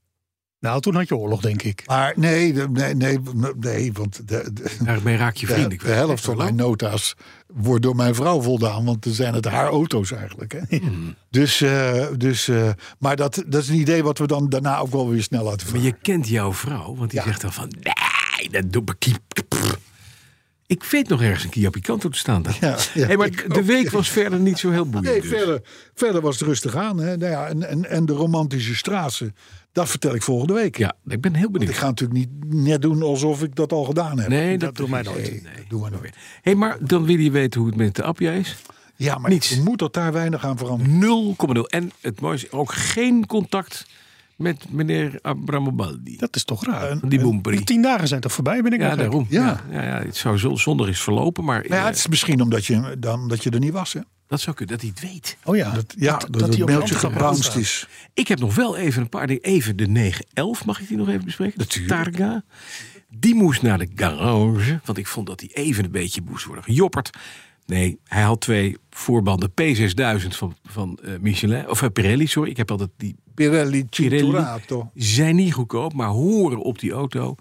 [SPEAKER 5] Nou, toen had je oorlog, denk ik.
[SPEAKER 3] Maar nee, de- nee, nee, nee want de, de,
[SPEAKER 4] Daarmee raak je vrienden
[SPEAKER 3] de, de
[SPEAKER 4] kwijt.
[SPEAKER 3] helft van mijn nota's wordt door mijn vrouw voldaan. Want dan zijn het haar auto's eigenlijk. Hè?
[SPEAKER 4] Hmm.
[SPEAKER 3] Dus, eh, dus, eh, maar dat, dat is een idee wat we dan daarna ook wel weer snel laten
[SPEAKER 4] Maar
[SPEAKER 3] varen.
[SPEAKER 4] je kent jouw vrouw, want die zegt dan van... Nee, dat doe ik niet." Ik weet nog ergens een Kia Picanto te staan daar.
[SPEAKER 3] Ja, ja,
[SPEAKER 4] Hey, maar
[SPEAKER 3] ik
[SPEAKER 4] de
[SPEAKER 3] ook,
[SPEAKER 4] week
[SPEAKER 3] ja.
[SPEAKER 4] was verder niet zo heel boeiend.
[SPEAKER 3] Nee,
[SPEAKER 4] dus.
[SPEAKER 3] verder, verder was het rustig aan. Hè? Nou ja, en, en, en de romantische straten, dat vertel ik volgende week.
[SPEAKER 4] Ja, ik ben heel
[SPEAKER 3] Want ik
[SPEAKER 4] benieuwd.
[SPEAKER 3] ga natuurlijk niet net doen alsof ik dat al gedaan heb.
[SPEAKER 4] Nee, dat,
[SPEAKER 5] dat doen wij nooit.
[SPEAKER 4] Nee.
[SPEAKER 3] dat doen we nooit.
[SPEAKER 4] Hey, maar dan wil je weten hoe het met de Appia is.
[SPEAKER 3] Ja, maar
[SPEAKER 4] Niets.
[SPEAKER 3] je moet dat daar weinig aan veranderen.
[SPEAKER 4] 0,0. En het mooiste, ook geen contact met meneer Abramobaldi.
[SPEAKER 5] Dat is toch raar.
[SPEAKER 4] Die boemperie.
[SPEAKER 5] De tien dagen zijn toch voorbij, ben ik
[SPEAKER 4] Ja,
[SPEAKER 5] nog gek.
[SPEAKER 4] daarom.
[SPEAKER 3] Ja.
[SPEAKER 4] Ja. Ja, ja, het zou zo- zondag is verlopen, maar
[SPEAKER 3] Nou ja,
[SPEAKER 4] eh,
[SPEAKER 3] het is misschien omdat je, dan, dat je er niet was. Hè?
[SPEAKER 4] dat zou kunnen, dat hij het weet.
[SPEAKER 5] Oh ja,
[SPEAKER 3] Dat, ja, dat, het
[SPEAKER 5] die op
[SPEAKER 3] mailtje
[SPEAKER 5] de andere
[SPEAKER 3] gebounced
[SPEAKER 5] staat.
[SPEAKER 3] is.
[SPEAKER 4] Ik heb nog wel even een paar dingen. Even de 911, mag ik die nog even bespreken? Natuurlijk. Targa. Die moest naar de garage. Want ik vond dat die even een beetje moest worden gejopperd. Nee, hij had twee voorbanden P6000 van, van eh, Michelin. Of eh, Pirelli, sorry. Ik heb altijd die
[SPEAKER 3] Pirelli
[SPEAKER 4] Pirelli.
[SPEAKER 3] Cinturato.
[SPEAKER 4] Zijn niet goedkoop, maar horen op die auto.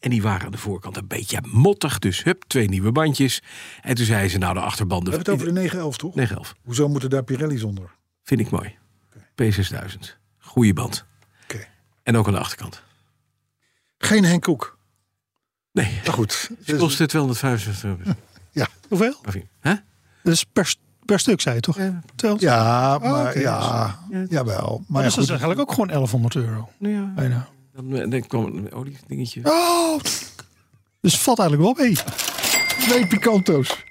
[SPEAKER 4] En die waren aan de voorkant een beetje mottig. Dus hup, twee nieuwe bandjes. En toen zei ze, nou de achterbanden...
[SPEAKER 3] We hebben het over de 911, toch?
[SPEAKER 4] 911.
[SPEAKER 3] Hoezo moeten daar Pirelli's onder?
[SPEAKER 4] Vind ik mooi. P6000. Goeie band.
[SPEAKER 3] Oké.
[SPEAKER 4] En ook aan de achterkant.
[SPEAKER 3] Geen Henk Koek.
[SPEAKER 4] Nee.
[SPEAKER 3] Nou goed.
[SPEAKER 4] Het
[SPEAKER 3] Dus-
[SPEAKER 4] kostte 265 euro.
[SPEAKER 3] ja.
[SPEAKER 5] Hoeveel?
[SPEAKER 4] Of niet? Hè?
[SPEAKER 5] Dat is per, per stuk, zei je toch? Ja.
[SPEAKER 3] Ja, maar
[SPEAKER 5] Oh, oké.
[SPEAKER 3] ja, jawel. Maar
[SPEAKER 5] Maar
[SPEAKER 3] ja,
[SPEAKER 5] dus dat
[SPEAKER 3] goed,
[SPEAKER 5] is eigenlijk ook gewoon 1100 euro.
[SPEAKER 4] Nou ja,
[SPEAKER 5] Bijna.
[SPEAKER 4] dan, eh, dan kwam een oliedingetje.
[SPEAKER 5] Oh, dus valt eigenlijk wel mee.
[SPEAKER 3] twee Picanto's.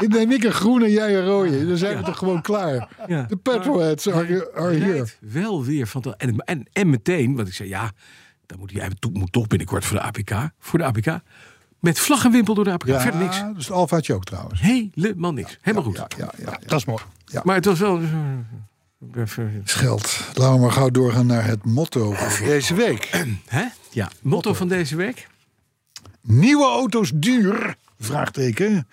[SPEAKER 3] Ik neem ik een groene en jij een rode. Dan zijn we toch gewoon klaar.
[SPEAKER 4] Ja.
[SPEAKER 3] De petrolheads are, are here.
[SPEAKER 4] Rijdt Wel weer van de, en, en, en meteen, want ik zei ja, dan moet hij, hij moet moet toch binnenkort voor de APK. Voor de APK. Met vlag en wimpel door de APK. Verder niks.
[SPEAKER 3] dus de alfaatje ook trouwens.
[SPEAKER 4] Helemaal niks. Helemaal
[SPEAKER 3] Ja,
[SPEAKER 4] goed.
[SPEAKER 3] ja, ja.
[SPEAKER 5] Dat is mooi.
[SPEAKER 4] Maar het was wel. eh, Even-
[SPEAKER 3] Scheld. Laten we maar gauw doorgaan naar het motto voor deze week.
[SPEAKER 4] Hè? Ja. Motto van deze week?
[SPEAKER 3] Nieuwe auto's duur? Vraagteken.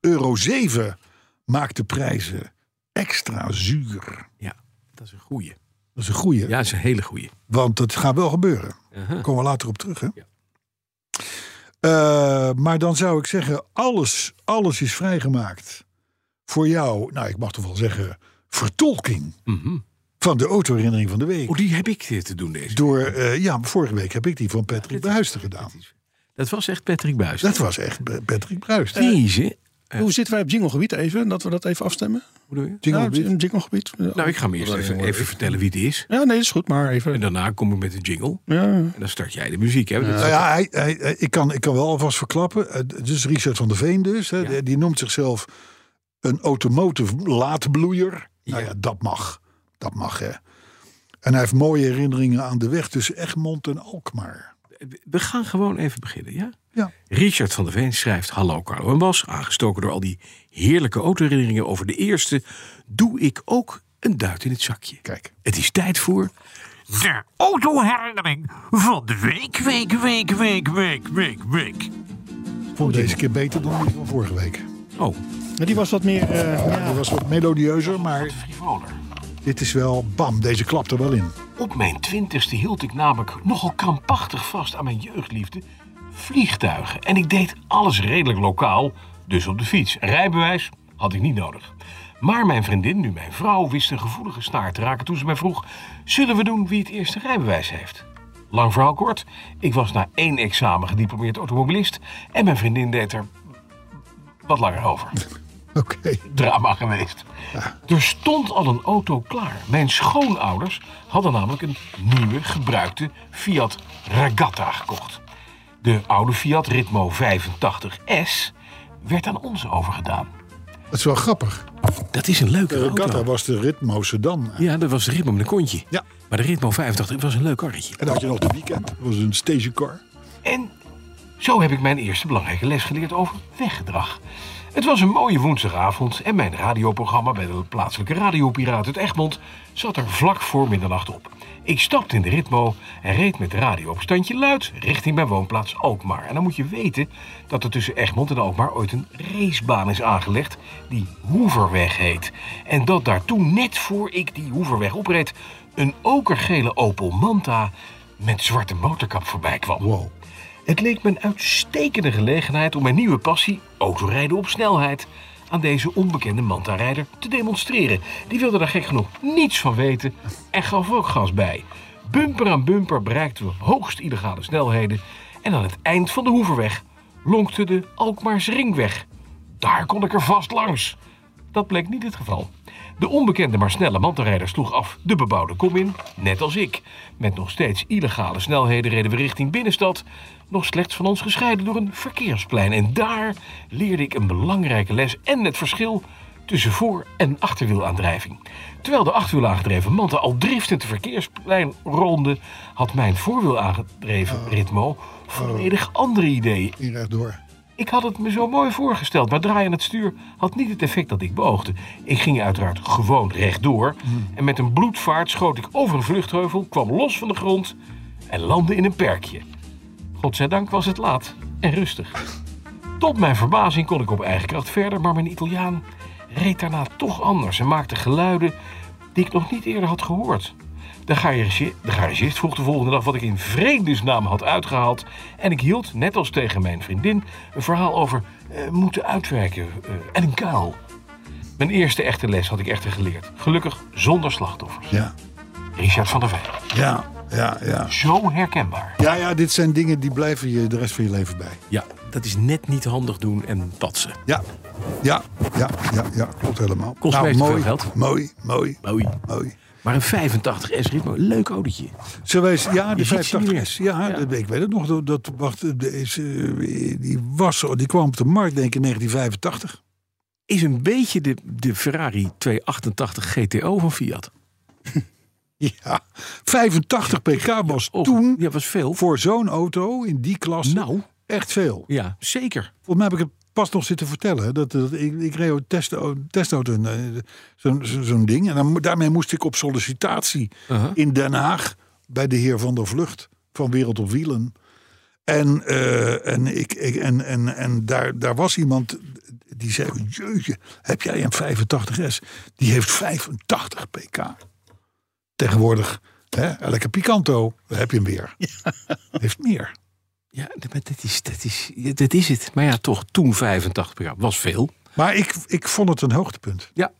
[SPEAKER 3] Euro 7 maakt de prijzen extra zuur.
[SPEAKER 4] Ja, dat is een goeie.
[SPEAKER 3] Dat is een goeie.
[SPEAKER 4] Ja, dat is een hele goeie.
[SPEAKER 3] Want het gaat wel gebeuren. Daar komen we later op terug. Hè? Eh, maar dan zou ik zeggen, alles, alles is vrijgemaakt voor jou. Nou, ik mag toch wel zeggen, vertolking van de autoherinnering van de week.
[SPEAKER 4] Oh, die heb ik dit te doen deze
[SPEAKER 3] Door, eh, ja, vorige week heb ik die van Patrick Bruisten gedaan.
[SPEAKER 4] Dat was echt Patrick Buijs.
[SPEAKER 3] Dat was echt Be- Patrick Bruist.
[SPEAKER 4] Deze.
[SPEAKER 5] Hoe zitten wij op jinglegebied even? Dat we dat even afstemmen?
[SPEAKER 4] Hoe doe je?
[SPEAKER 5] Nou, op jinglegebied.
[SPEAKER 4] Nou, ik ga hem eerst even, even vertellen wie het is.
[SPEAKER 5] Ja, nee, dat is goed, maar
[SPEAKER 4] En
[SPEAKER 5] even.
[SPEAKER 4] daarna kom ik met de jingle.
[SPEAKER 5] Ja.
[SPEAKER 4] En dan start jij de muziek. Hè? Dat is-
[SPEAKER 3] Nou
[SPEAKER 6] Dus
[SPEAKER 3] ja, hij, hij- hij- ik, kan, ik kan wel alvast verklappen. Eh, d- Dus Richard van der Veen dus. Hè, die, die noemt zichzelf een automotive laatbloeier. Nou ja, dat mag. Dat mag, hè. En hij heeft mooie herinneringen aan de weg tussen Egmond en Alkmaar.
[SPEAKER 6] we gaan gewoon even beginnen, ja?
[SPEAKER 3] Ja.
[SPEAKER 6] Richard van der Veen schrijft... Hallo Carlo en Bas, aangestoken door al die heerlijke autoherinneringen over de eerste... doe ik ook een duit in het zakje.
[SPEAKER 3] Kijk.
[SPEAKER 6] Het is tijd voor...
[SPEAKER 4] De autoherinnering van de week, week, week, week, week, week, week.
[SPEAKER 3] Ik vond deze keer beter dan die van vorige week.
[SPEAKER 6] Oh,
[SPEAKER 5] Maar die was wat meer. eh, ja.
[SPEAKER 3] Die was wat melodieuzer, maar
[SPEAKER 6] frivoler.
[SPEAKER 3] dit is wel bam. Deze klapt er wel in.
[SPEAKER 6] Op mijn twintigste hield ik namelijk nogal krampachtig vast aan mijn jeugdliefde vliegtuigen. En ik deed alles redelijk lokaal, dus op de fiets. Rijbewijs had ik niet nodig. Maar mijn vriendin, nu mijn vrouw, wist een gevoelige snaar te raken toen ze mij vroeg... zullen we doen wie het eerste rijbewijs heeft? Lang verhaal kort, ik was na één examen gediplomeerd automobilist... en mijn vriendin deed er wat langer over
[SPEAKER 3] Oké.
[SPEAKER 6] drama geweest. Er stond al een auto klaar. Mijn schoonouders hadden namelijk een nieuwe gebruikte Fiat Regatta gekocht. De oude Fiat Ritmo 85S werd aan ons overgedaan.
[SPEAKER 3] Dat is wel grappig.
[SPEAKER 6] Dat is een leuke
[SPEAKER 3] De Regatta was de Ritmo Sedan.
[SPEAKER 6] Ja, dat was de Ritmo met een kontje.
[SPEAKER 3] Ja.
[SPEAKER 6] Maar de Ritmo 85 was een leuk karretje.
[SPEAKER 3] En dan had je nog de weekend. Dat was een stagecar.
[SPEAKER 4] En zo heb ik mijn eerste belangrijke les geleerd over weggedrag. Het was een mooie woensdagavond en mijn radioprogramma bij de plaatselijke radiopiraat uit Egmond zat er vlak voor middernacht op. Ik stapte in de ritmo en reed met de radio op standje luid richting mijn woonplaats Alkmaar. En dan moet je weten dat er tussen Egmond en Alkmaar ooit een racebaan is aangelegd die Hoeverweg heet. En dat daartoe net voor ik die Hoeverweg opreed een okergele Opel Manta met zwarte motorkap voorbij kwam.
[SPEAKER 3] Wow.
[SPEAKER 4] Het leek me een uitstekende gelegenheid om mijn nieuwe passie, autorijden op snelheid, aan deze onbekende mantarijder te demonstreren. Die wilde daar gek genoeg niets van weten en gaf ook gas bij. Bumper aan bumper bereikten we hoogst illegale snelheden en aan het eind van de Hoeverweg lonkte de Alkmaarse ringweg. Daar kon ik er vast langs. Dat bleek niet het geval. De onbekende maar snelle mantelrijder sloeg af de bebouwde kom in, net als ik. Met nog steeds illegale snelheden reden we richting binnenstad, nog slechts van ons gescheiden door een verkeersplein. En daar leerde ik een belangrijke les en het verschil tussen voor- en achterwielaandrijving. Terwijl de achterwielaangedreven Manta al driftend het verkeersplein ronde, had mijn voorwielaangedreven Ritmo volledig andere ideeën.
[SPEAKER 3] Ging rechtdoor.
[SPEAKER 4] Ik had het me zo mooi voorgesteld, maar draaien aan het stuur had niet het effect dat ik beoogde. Ik ging uiteraard gewoon rechtdoor en met een bloedvaart schoot ik over een vluchtheuvel, kwam los van de grond en landde in een perkje. Godzijdank was het laat en rustig. Tot mijn verbazing kon ik op eigen kracht verder, maar mijn Italiaan reed daarna toch anders en maakte geluiden die ik nog niet eerder had gehoord. De, garage, de garagist vroeg de volgende dag wat ik in vredesnaam had uitgehaald. En ik hield, net als tegen mijn vriendin, een verhaal over eh, moeten uitwerken eh, en een kuil. Mijn eerste echte les had ik echter geleerd. Gelukkig zonder slachtoffers.
[SPEAKER 3] Ja.
[SPEAKER 4] Richard van der Veen.
[SPEAKER 3] Ja. Ja, ja.
[SPEAKER 4] Zo herkenbaar.
[SPEAKER 3] Ja, ja, dit zijn dingen die blijven je de rest van je leven bij.
[SPEAKER 6] Ja, dat is net niet handig doen en patsen.
[SPEAKER 3] Ja, ja, ja, ja, ja klopt helemaal. Nou,
[SPEAKER 6] Kost mij te veel geld.
[SPEAKER 3] mooi, mooi,
[SPEAKER 6] Oei.
[SPEAKER 3] mooi.
[SPEAKER 6] Maar een 85S Ritmo, leuk autootje.
[SPEAKER 3] Zullen we eens, ja, de
[SPEAKER 6] Je ziet ze niet
[SPEAKER 3] 85 ja, dat- ik weet het nog. Dat, dat, wacht, de- is, eh, die, was, zo- die kwam op de markt denk ik in 1985.
[SPEAKER 6] Is een beetje de, de Ferrari 288 GTO van Fiat.
[SPEAKER 3] Ja, 85 pk was
[SPEAKER 6] Oh,
[SPEAKER 3] toen
[SPEAKER 6] Ja, was veel.
[SPEAKER 3] voor zo'n auto in die klasse
[SPEAKER 6] Nou.
[SPEAKER 3] echt veel.
[SPEAKER 6] Ja, zeker.
[SPEAKER 3] Volgens mij heb ik het pas nog zitten vertellen. hè, Dat, dat, ik, ik reed een testauto, testauto en, eh, zo'n zo- zo'n ding. En dan, mo- daarmee moest ik op sollicitatie in Den Haag bij de heer Van der Vlucht van Wereld op Wielen. En, eh, en, ik, ik, en, en, en daar, daar was iemand die zei: Jeetje, heb jij een 85S? Die heeft 85 pk. Tegenwoordig, hè, elke Picanto, daar heb je hem weer. Heeft meer.
[SPEAKER 6] Ja, maar dat is, dat, is, dat is het. Maar ja, toch, toen 85 per jaar was veel.
[SPEAKER 3] Maar ik, ik vond het een hoogtepunt.
[SPEAKER 6] Ja.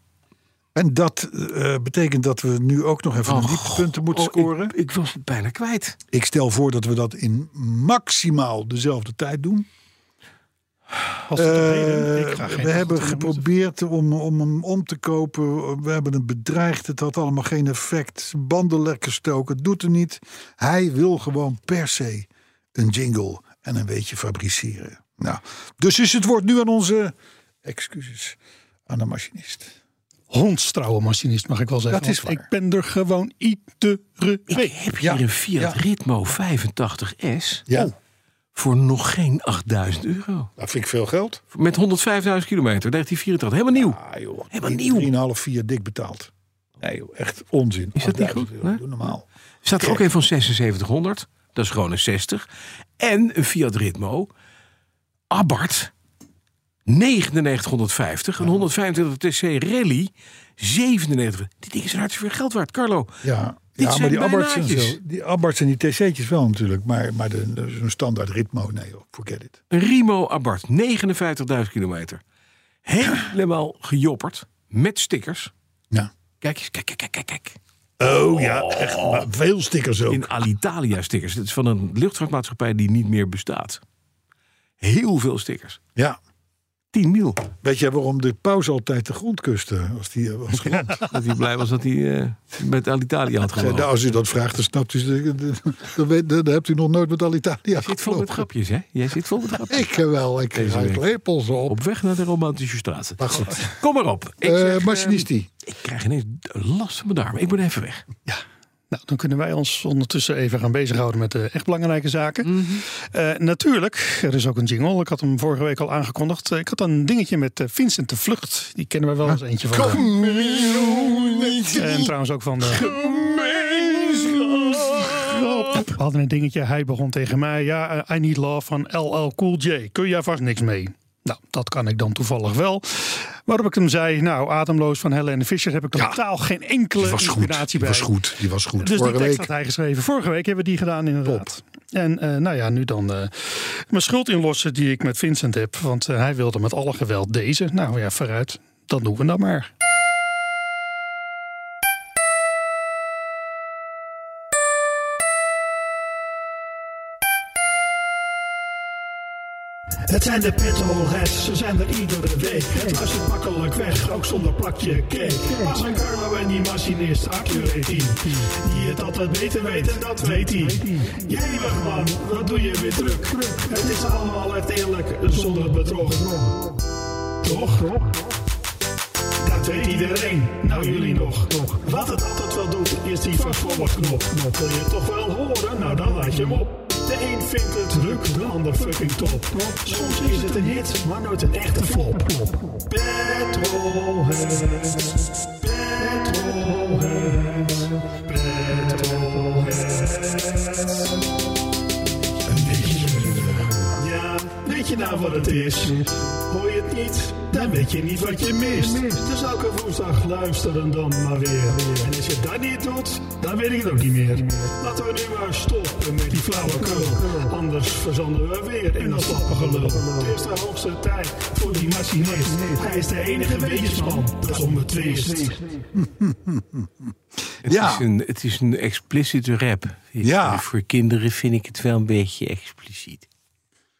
[SPEAKER 3] En dat eh, betekent dat we nu ook nog even een dieptepunten
[SPEAKER 5] oh,
[SPEAKER 3] moeten scoren.
[SPEAKER 6] Oh, Ik,
[SPEAKER 3] Ik,
[SPEAKER 6] ik was het bijna kwijt.
[SPEAKER 3] stel voor dat we dat in maximaal dezelfde tijd doen.
[SPEAKER 5] Als het
[SPEAKER 3] Eh,
[SPEAKER 5] een reden- ik ga geen
[SPEAKER 3] we hebben
[SPEAKER 5] achternaam
[SPEAKER 3] geprobeerd om, om hem om te kopen. We hebben hem bedreigd. Het had allemaal geen effect. Banden lek gestoken. Doet er niet. Hij wil gewoon per se een jingle en een beetje fabriceren. Nou, dus is het woord nu aan onze excuses aan de machinist.
[SPEAKER 5] hondstrouwe machinist, mag ik wel zeggen.
[SPEAKER 3] Dat is
[SPEAKER 5] Want
[SPEAKER 3] waar.
[SPEAKER 5] Ik ben er gewoon iedere
[SPEAKER 4] Ik
[SPEAKER 5] week.
[SPEAKER 4] heb hier
[SPEAKER 3] Ja.
[SPEAKER 4] een Fiat
[SPEAKER 3] Ja.
[SPEAKER 4] Ritmo 85S
[SPEAKER 3] Ja,
[SPEAKER 4] voor nog geen 8000 euro.
[SPEAKER 3] dat vind ik veel geld.
[SPEAKER 4] Met 105.000 kilometer, 1984. Helemaal nieuw.
[SPEAKER 3] Ah joh,
[SPEAKER 4] Helemaal nieuw.
[SPEAKER 3] 3,5, 4 dik betaald. Nee joh, echt onzin.
[SPEAKER 4] Is dat niet goed?
[SPEAKER 3] 8000 euro,
[SPEAKER 4] Nee?
[SPEAKER 3] doe normaal.
[SPEAKER 4] Staat er ook een van 7600. Dat is gewoon een 60. En een Fiat Ritmo. Abarth. 9950. Een 125 TC Rally. 97. Die dingen zijn hartstikke veel geld waard. Carlo.
[SPEAKER 3] Ja,
[SPEAKER 4] Dit
[SPEAKER 3] ja
[SPEAKER 4] zijn
[SPEAKER 3] maar die Abbarts en
[SPEAKER 4] bijnaatjes.
[SPEAKER 3] zo. Die Abbarts en die TC'tjes wel natuurlijk. Maar, maar de- de- zo'n standaard ritmo, nee joh, forget it.
[SPEAKER 4] Een Rimo Abarth. 59.000 kilometer. Helemaal gejopperd. Met stickers.
[SPEAKER 3] Ja.
[SPEAKER 4] Kijk eens. Kijk, kijk, kijk, kijk, kijk.
[SPEAKER 3] Oh ja, echt maar veel stickers ook.
[SPEAKER 4] In Alitalia stickers. Dat is van een luchtvaartmaatschappij die niet meer bestaat. Heel veel stickers.
[SPEAKER 3] Ja.
[SPEAKER 4] 10 mil.
[SPEAKER 3] Weet jij waarom de pauze altijd de grond kuste? Als die eh, was geland?
[SPEAKER 4] Dat hij blij was dat hij eh, met Alitalia had
[SPEAKER 3] Zei, nou,
[SPEAKER 4] gewonnen.
[SPEAKER 3] als u dat vraagt, dan snapt u. ze- Dan, weet- dan hebt u nog nooit met Alitalia
[SPEAKER 4] Zit vol
[SPEAKER 3] gevlogen.
[SPEAKER 4] met grapjes, hè? Jij zit vol met grapjes.
[SPEAKER 3] Ik eh, wel, ik
[SPEAKER 4] Deze
[SPEAKER 3] ruik
[SPEAKER 4] week.
[SPEAKER 3] lepels op.
[SPEAKER 4] Op weg naar de romantische straten.
[SPEAKER 3] Maar goed,
[SPEAKER 4] Kom maar op. Ik,
[SPEAKER 3] Eh,
[SPEAKER 4] zeg, eh,
[SPEAKER 3] Machinisti.
[SPEAKER 4] ik krijg ineens last van mijn darmen. Ik moet even weg.
[SPEAKER 5] Nou, dan kunnen wij ons ondertussen even gaan bezighouden met de echt belangrijke zaken. Eh, natuurlijk, er is ook een jingle. Ik had hem vorige week al aangekondigd. Eh, Ik had een dingetje met eh, Vincent de Vlucht. Die kennen we wel eens eentje van. En trouwens ook van de... We hadden een dingetje. Hij begon tegen mij. Ja, eh, I Need Love van LL Cool J. Kun jij vast niks mee? Nou, dat kan ik dan toevallig wel. Waarop ik hem zei, nou, ademloos van Helene Fischer heb ik totaal geen enkele
[SPEAKER 3] die was goed.
[SPEAKER 5] inspiratie
[SPEAKER 3] Die
[SPEAKER 5] bij.
[SPEAKER 3] was goed. Die was goed.
[SPEAKER 5] Dus
[SPEAKER 3] Vorige
[SPEAKER 5] die tekst
[SPEAKER 3] week.
[SPEAKER 5] had hij geschreven. Vorige week hebben we die gedaan inderdaad. En eh, nou ja, nu dan eh, mijn schuld inlossen die ik met Vincent heb. Want eh, hij wilde met alle geweld deze. Nou ja, vooruit. Dan doen we dat maar.
[SPEAKER 7] Het zijn de petrolheads, ze zijn er iedere week. Het luistert makkelijk weg, ook zonder plakje cake. Pas en Carlo en die machinist, Accurateam. Die het altijd beter weet, en dat weet hij. Jemig man, wat doe je weer druk. Het is allemaal echt eerlijk, zonder bedrog. Toch? Dat weet iedereen, nou jullie nog. Wat het altijd wel doet, is die vervolgknop. Wil je het toch wel horen? Nou dan laat je hem op. De een vindt het druk, de ander fucking top. Soms is het een hit, maar nooit een echte flop. Petrolheads, petrolheads, petrolheads. Een beetje zeuren. Ja, weet je nou wat het is? Hoor je het niet? Dan weet je niet wat je mist. Dus elke woensdag luisteren dan maar weer. En als je dat niet doet, dan weet ik het ook niet meer. Laten we nu maar stoppen met die flauwekul. Anders verzanden we weer in dat slappengelul. Het is de hoogste tijd voor die machinist. Hij is de enige weetjesman, dat is onbetwist.
[SPEAKER 4] Het,
[SPEAKER 3] Ja.
[SPEAKER 4] is, een, het is een explicit rap. Ik-
[SPEAKER 3] Ja.
[SPEAKER 4] Voor kinderen vind ik het wel een beetje expliciet.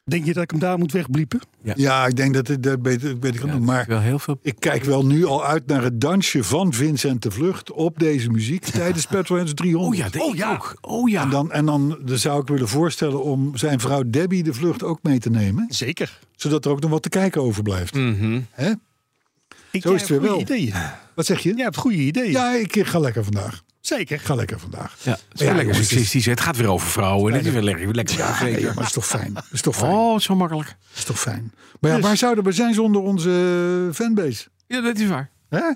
[SPEAKER 5] Denk je dat ik hem daar moet wegbliepen?
[SPEAKER 3] Ja, ik denk dat het dat beter, beter kan doen.
[SPEAKER 4] Ja, het is
[SPEAKER 3] Maar
[SPEAKER 4] wel heel veel.
[SPEAKER 3] ik kijk wel nu al uit naar het dansje van Vincent de Vlucht op deze muziek tijdens Petroheads 300.
[SPEAKER 4] Oh ja, dat ik ook. Oh ja.
[SPEAKER 3] En dan, en dan dan zou ik willen voorstellen om zijn vrouw Debbie de Vlucht ook mee te nemen.
[SPEAKER 5] Zeker.
[SPEAKER 3] Zodat er ook nog wat te kijken overblijft.
[SPEAKER 4] Mhm.
[SPEAKER 3] Hè?
[SPEAKER 5] Ik,
[SPEAKER 3] Zo
[SPEAKER 5] jij
[SPEAKER 3] is het
[SPEAKER 5] hebt
[SPEAKER 3] weer
[SPEAKER 5] goede
[SPEAKER 3] wel.
[SPEAKER 5] Ideeën.
[SPEAKER 3] Wat zeg je?
[SPEAKER 5] Jij hebt goede ideeën.
[SPEAKER 3] Ja, ik ga lekker vandaag.
[SPEAKER 5] Zeker.
[SPEAKER 3] Ga lekker vandaag.
[SPEAKER 4] ja, het is
[SPEAKER 3] Ja,
[SPEAKER 4] wel lekker
[SPEAKER 3] jongens, het is-
[SPEAKER 4] seksistisch. hè. Het gaat weer over vrouwen. Het is weer lekker. lekker
[SPEAKER 3] Nee,
[SPEAKER 4] zeker.
[SPEAKER 3] maar het is toch fijn. Het is toch fijn.
[SPEAKER 4] Oh, zo makkelijk.
[SPEAKER 3] Het is toch fijn. Maar ja, waar zouden we zijn zonder onze fanbase?
[SPEAKER 4] Dus- Ja, dat is waar.
[SPEAKER 3] Hè?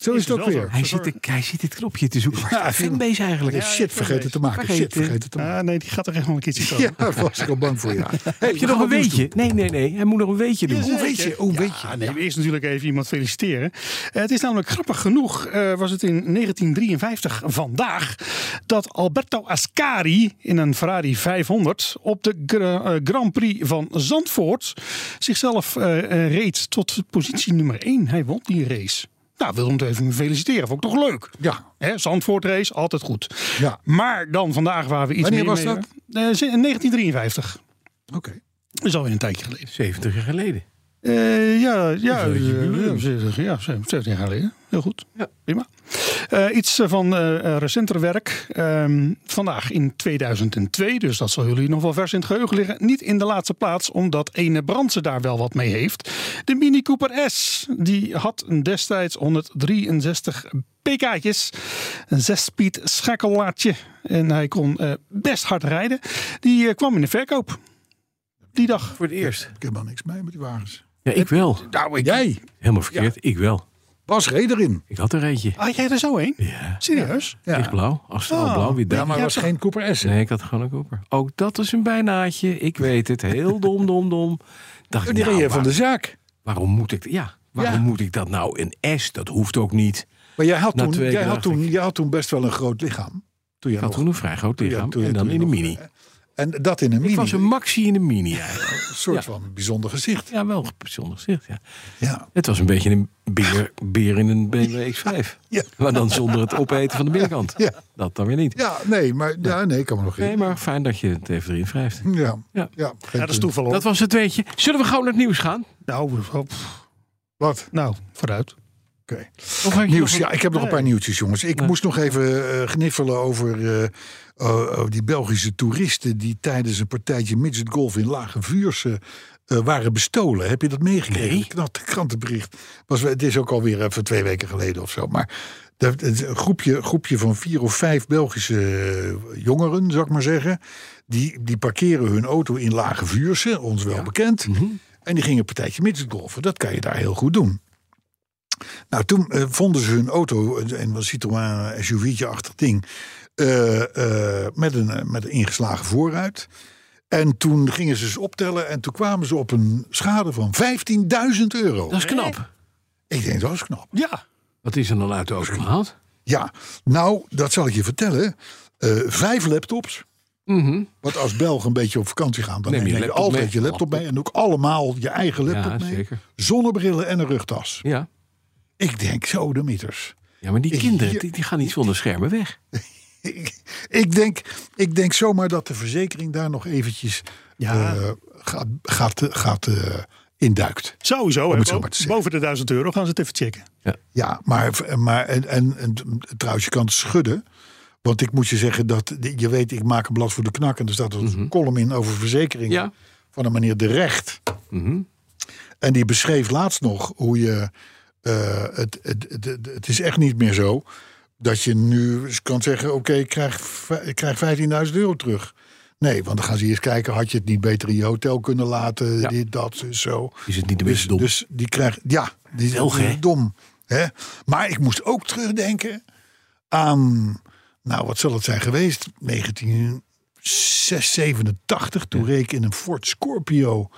[SPEAKER 3] Zo is het ook
[SPEAKER 5] wel
[SPEAKER 3] weer.
[SPEAKER 5] zo.
[SPEAKER 4] Hij zit, de, hij zit dit knopje te zoeken. Waar
[SPEAKER 3] Ja,
[SPEAKER 4] is de fanbase eigenlijk?
[SPEAKER 3] Shit, vergeten te maken. Shit,
[SPEAKER 4] Vergeten.
[SPEAKER 3] vergeten te maken.
[SPEAKER 5] Ah, nee, die gaat er echt wel een keertje komen.
[SPEAKER 3] Ja, daar was ik al bang voor je.
[SPEAKER 4] Heb je nog een weetje? Nee, nee, nee. Hij moet nog een weetje doen.
[SPEAKER 3] Hoe weet je? Hoe weet je?
[SPEAKER 5] Ja, nee, Eerst natuurlijk even iemand feliciteren. Eh, het is namelijk grappig genoeg, eh, was het in 1953 vandaag, dat Alberto Ascari in een Ferrari 500 op de Gra- eh, Grand Prix van Zandvoort zichzelf eh, eh, reed tot positie nummer 1. Hij won die race. Nou, wil hem toch even feliciteren. Vond ik toch leuk.
[SPEAKER 3] Ja.
[SPEAKER 5] Hè, Zandvoort race, altijd goed.
[SPEAKER 3] Ja.
[SPEAKER 5] Maar dan vandaag waar we iets
[SPEAKER 3] Wanneer
[SPEAKER 5] meer
[SPEAKER 3] was
[SPEAKER 5] mee
[SPEAKER 3] dat?
[SPEAKER 5] hebben. Eh, in 1953.
[SPEAKER 3] Oké.
[SPEAKER 5] Dat is alweer een tijdje geleden.
[SPEAKER 4] 70 jaar geleden.
[SPEAKER 5] Eh, ja, ja,
[SPEAKER 4] een
[SPEAKER 5] ja,
[SPEAKER 4] jubileum.
[SPEAKER 5] 70 ja, 70 jaar geleden. Heel goed. Prima. Eh, iets eh, van eh, eh, recenter werk. Ehm, vandaag in 2002, dus dat zal jullie nog wel vers in het geheugen liggen. Niet in de laatste plaats, omdat ene Brandse daar wel wat mee heeft. De Mini Cooper S, die had destijds 163 pk'tjes. Een zespeed schakelaartje. En hij kon eh, best hard rijden. Die eh, kwam in de verkoop. Die dag.
[SPEAKER 4] Voor het eerst.
[SPEAKER 3] Ik heb er niks mee met die wagens.
[SPEAKER 4] Ja, ik wel.
[SPEAKER 3] Nou, ik... Jij.
[SPEAKER 4] Helemaal verkeerd. Ik wel.
[SPEAKER 3] Bas reed erin.
[SPEAKER 4] Ik had er eentje.
[SPEAKER 5] Had jij er zo een?
[SPEAKER 4] Ja.
[SPEAKER 5] Serieus?
[SPEAKER 3] Ja.
[SPEAKER 4] Lichtblauw. Astraal
[SPEAKER 5] Oh.
[SPEAKER 4] blauw. Wie
[SPEAKER 3] Ja, maar
[SPEAKER 5] Ja,
[SPEAKER 3] was
[SPEAKER 5] toch?
[SPEAKER 3] geen Cooper S. hè?
[SPEAKER 4] Nee, ik had gewoon een koper. Ook dat is een bijnaatje. Ik weet het. Heel dom, dom, dom. Dacht ik,
[SPEAKER 3] Oh, Die
[SPEAKER 4] nou,
[SPEAKER 3] reed van
[SPEAKER 4] waar-
[SPEAKER 3] de zaak.
[SPEAKER 4] waarom moet ik... Ja, waarom
[SPEAKER 3] Ja.
[SPEAKER 4] moet ik dat nou? Een S, dat hoeft ook niet.
[SPEAKER 3] Maar jij had,
[SPEAKER 4] Na
[SPEAKER 3] toen,
[SPEAKER 4] twee
[SPEAKER 3] jij,
[SPEAKER 4] weken
[SPEAKER 3] had
[SPEAKER 4] dacht
[SPEAKER 3] toen, jij had toen best wel een groot lichaam. Toen jij
[SPEAKER 4] Ik had
[SPEAKER 3] nog,
[SPEAKER 4] toen een vrij groot
[SPEAKER 3] ja,
[SPEAKER 4] lichaam.
[SPEAKER 3] toen-
[SPEAKER 4] en
[SPEAKER 3] toen
[SPEAKER 4] dan
[SPEAKER 3] je
[SPEAKER 4] in een
[SPEAKER 3] nog-
[SPEAKER 4] mini.
[SPEAKER 3] En dat in een mini.
[SPEAKER 4] Ik was een maxi in een mini eigenlijk.
[SPEAKER 3] een soort van bijzonder gezicht.
[SPEAKER 4] Ja, wel bijzonder gezicht, ja.
[SPEAKER 3] Ja.
[SPEAKER 4] Het was een beetje een beer, beer in een BMW X5.
[SPEAKER 3] Ja.
[SPEAKER 4] Maar dan zonder het opeten van de binnenkant.
[SPEAKER 3] Ja.
[SPEAKER 4] Dat dan weer niet.
[SPEAKER 3] ja, nee, maar ja, nee, ik kan me nog
[SPEAKER 4] Nee,
[SPEAKER 3] herinneren.
[SPEAKER 4] maar fijn dat je het even erin wrijft.
[SPEAKER 3] Ja, ja.
[SPEAKER 4] Ja.
[SPEAKER 3] geen-
[SPEAKER 5] Ja, dat is toeval hoor.
[SPEAKER 4] Dat was het weetje. Zullen we gauw naar het nieuws gaan?
[SPEAKER 5] Nou, pff,
[SPEAKER 3] Wat?
[SPEAKER 5] nou, vooruit.
[SPEAKER 3] Oké.
[SPEAKER 4] Of had je
[SPEAKER 3] Nieuws,
[SPEAKER 4] nog
[SPEAKER 3] ja, ik heb nog een paar nieuwtjes, jongens. Ik moest nog even eh, gniffelen over eh, oh, oh, die Belgische toeristen die tijdens een partijtje midget golf in Lage Vuurse eh, waren bestolen. Heb je dat meegekregen?
[SPEAKER 4] Nee.
[SPEAKER 3] Knap krantenbericht. Was, het is ook alweer even twee weken geleden of zo. Maar de- het- een groepje, groepje van vier of vijf Belgische eh, jongeren, zou ik maar zeggen. Die, die parkeren hun auto in Lage Vuurse, ons wel bekend.
[SPEAKER 4] Mhm.
[SPEAKER 3] En die gingen een partijtje midget golfen. Dat kan je daar heel goed doen. Nou, toen eh, vonden ze hun auto, eh, een wat Citroën SUV'tje-achtig ding, eh, eh, met, een, eh, met een ingeslagen voorruit. En toen gingen ze ze optellen en toen kwamen ze op een schade van 15.000 euro.
[SPEAKER 4] Dat is knap.
[SPEAKER 3] Ik denk, dat is knap.
[SPEAKER 5] Ja.
[SPEAKER 4] Wat is er dan uit de auto gehaald?
[SPEAKER 3] Ja, nou, dat zal ik je vertellen. Eh, vijf laptops.
[SPEAKER 4] Mhm,
[SPEAKER 3] Want als Belgen een beetje op vakantie gaan, dan neem
[SPEAKER 4] Neem
[SPEAKER 3] je,
[SPEAKER 4] je laptop
[SPEAKER 3] altijd
[SPEAKER 4] mee.
[SPEAKER 3] je laptop mee. En ook allemaal je eigen laptop
[SPEAKER 4] Ja,
[SPEAKER 3] mee.
[SPEAKER 4] zeker.
[SPEAKER 3] Zonnebrillen en een rugtas.
[SPEAKER 4] Ja.
[SPEAKER 3] Ik denk, zo de mieters.
[SPEAKER 4] Ja, maar die
[SPEAKER 3] Ik-
[SPEAKER 4] kinderen, die, die gaan niet zonder schermen weg.
[SPEAKER 3] ik, ik denk, ik denk zomaar dat de verzekering daar nog eventjes
[SPEAKER 5] Ja.
[SPEAKER 3] eh, gaat, gaat, gaat eh, induikt.
[SPEAKER 5] Sowieso.
[SPEAKER 3] het
[SPEAKER 5] Hè,
[SPEAKER 3] zo maar te zeggen.
[SPEAKER 5] boven de 1000 euro gaan ze het even checken.
[SPEAKER 3] Ja, maar, maar en, en, en trouwens, je kan het schudden. Want ik moet je zeggen dat, je weet, ik maak een blad voor de knak. En er staat een column in over verzekeringen
[SPEAKER 4] Ja.
[SPEAKER 3] van een meneer De Recht.
[SPEAKER 4] Mhm.
[SPEAKER 3] En die beschreef laatst nog hoe je... eh, het, het, het, het- het is echt niet meer zo dat je nu eens kan zeggen... oké, ik krijg, v- ik krijg 15.000 euro terug. Nee, want dan gaan ze eerst kijken... had je het niet beter in je hotel kunnen laten,
[SPEAKER 4] Ja.
[SPEAKER 3] dit, dat, zo.
[SPEAKER 4] Is het niet de
[SPEAKER 3] Dus,
[SPEAKER 4] minste dom?
[SPEAKER 3] dus die krijgt, ja, die is
[SPEAKER 4] Belgen, hè?
[SPEAKER 3] dom. Hè? Maar ik moest ook terugdenken aan, nou wat zal het zijn geweest, 1987. Toen reed ik in een Ford Scorpio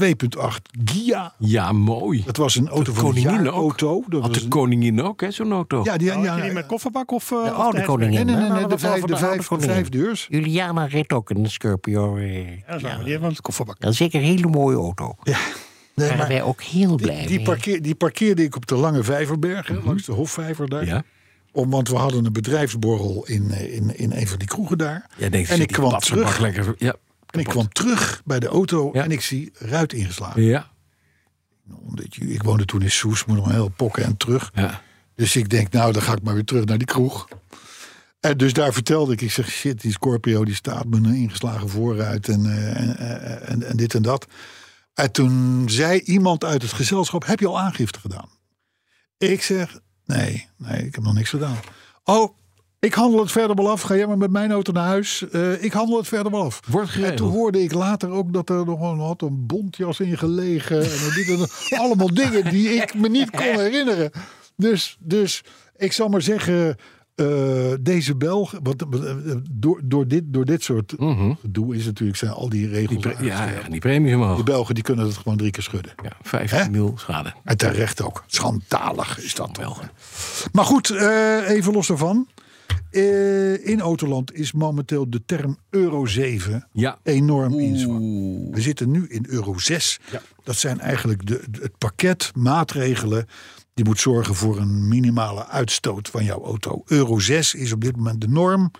[SPEAKER 3] 2.8 Gia.
[SPEAKER 4] ja, mooi.
[SPEAKER 3] Dat was een auto
[SPEAKER 4] de
[SPEAKER 3] van een
[SPEAKER 4] koningin
[SPEAKER 3] jaar
[SPEAKER 4] ook.
[SPEAKER 3] auto. Dat
[SPEAKER 4] Had
[SPEAKER 3] was
[SPEAKER 4] de
[SPEAKER 3] een-
[SPEAKER 4] koningin ook, hè, zo'n auto?
[SPEAKER 3] ja, die, ja,
[SPEAKER 5] Nou, had je die met kofferbak of... eh, of
[SPEAKER 8] oude
[SPEAKER 5] de
[SPEAKER 8] koningin.
[SPEAKER 3] Nee, nee, nee,
[SPEAKER 8] Nou,
[SPEAKER 3] nee,
[SPEAKER 8] dat
[SPEAKER 3] de,
[SPEAKER 8] was wel
[SPEAKER 3] vijf,
[SPEAKER 8] van
[SPEAKER 3] de,
[SPEAKER 8] oude
[SPEAKER 3] vijf, de
[SPEAKER 8] koningin.
[SPEAKER 3] vijf deurs.
[SPEAKER 8] Juliana reed ook een Scorpio. eh,
[SPEAKER 5] hatchback? Ja, zo, die hebben we een kofferbak.
[SPEAKER 8] Dat is zeker een hele mooie auto. Daar
[SPEAKER 3] Nee,
[SPEAKER 8] waren
[SPEAKER 3] maar
[SPEAKER 8] wij ook heel blij
[SPEAKER 3] die, die,
[SPEAKER 8] mee.
[SPEAKER 3] parkeer, die parkeerde ik op de Lange Vijverberg, hè, langs de Hofvijver daar.
[SPEAKER 4] Ja.
[SPEAKER 3] Om, want we hadden een bedrijfsborrel in, eh, in, in een van die kroegen daar.
[SPEAKER 4] Jij denkt,
[SPEAKER 3] en
[SPEAKER 4] zit
[SPEAKER 3] ik
[SPEAKER 4] die
[SPEAKER 3] kwam
[SPEAKER 4] papsbak
[SPEAKER 3] terug.
[SPEAKER 4] Lekker, ja.
[SPEAKER 3] En ik kwam terug bij de auto
[SPEAKER 4] Ja.
[SPEAKER 3] en ik zie ruit ingeslagen.
[SPEAKER 4] Ja.
[SPEAKER 3] Omdat je, ik woonde toen in Soes, moet nog heel pokken en terug.
[SPEAKER 4] ja.
[SPEAKER 3] Dus ik denk, nou, dan ga ik maar weer terug naar die kroeg. En dus daar vertelde ik, ik zeg, shit, die Scorpio die staat me een ingeslagen vooruit en, eh, en, eh, en, en dit en dat. En toen zei iemand uit het gezelschap, heb je al aangifte gedaan? Ik zeg, nee, nee, ik heb nog niks gedaan. Oh, ik handel het verder wel af, ga jij maar met mijn auto naar huis. Eh, ik handel het verder wel af.
[SPEAKER 4] Wordt geregeld.
[SPEAKER 3] En toen hoorde ik later ook dat er nog een, had een bontjas in gelegen. En dit en dat. Allemaal dingen die ik me niet kon herinneren. Dus, dus ik zal maar zeggen, eh, deze Belg... Wat, eh, door, door, dit, door dit soort gedoe is natuurlijk, zijn al die
[SPEAKER 4] Mhm. Die,
[SPEAKER 3] regels
[SPEAKER 4] pre- ja,
[SPEAKER 3] uitgesteld.
[SPEAKER 4] ja, die premies omhoog.
[SPEAKER 3] De Belgen die kunnen het gewoon drie keer schudden.
[SPEAKER 4] Ja, 5
[SPEAKER 3] Hè?
[SPEAKER 4] mil schade.
[SPEAKER 3] En terecht ook. Schandalig is dat
[SPEAKER 4] Wel.
[SPEAKER 3] Maar goed, eh, even los daarvan. Eh, in Autoland is momenteel de term Euro 7
[SPEAKER 4] Ja.
[SPEAKER 3] enorm in zwak. We zitten nu in euro 6. Dat zijn eigenlijk de, de- het pakket maatregelen die moet zorgen voor een minimale uitstoot van jouw auto. Euro 6 is op dit moment de norm.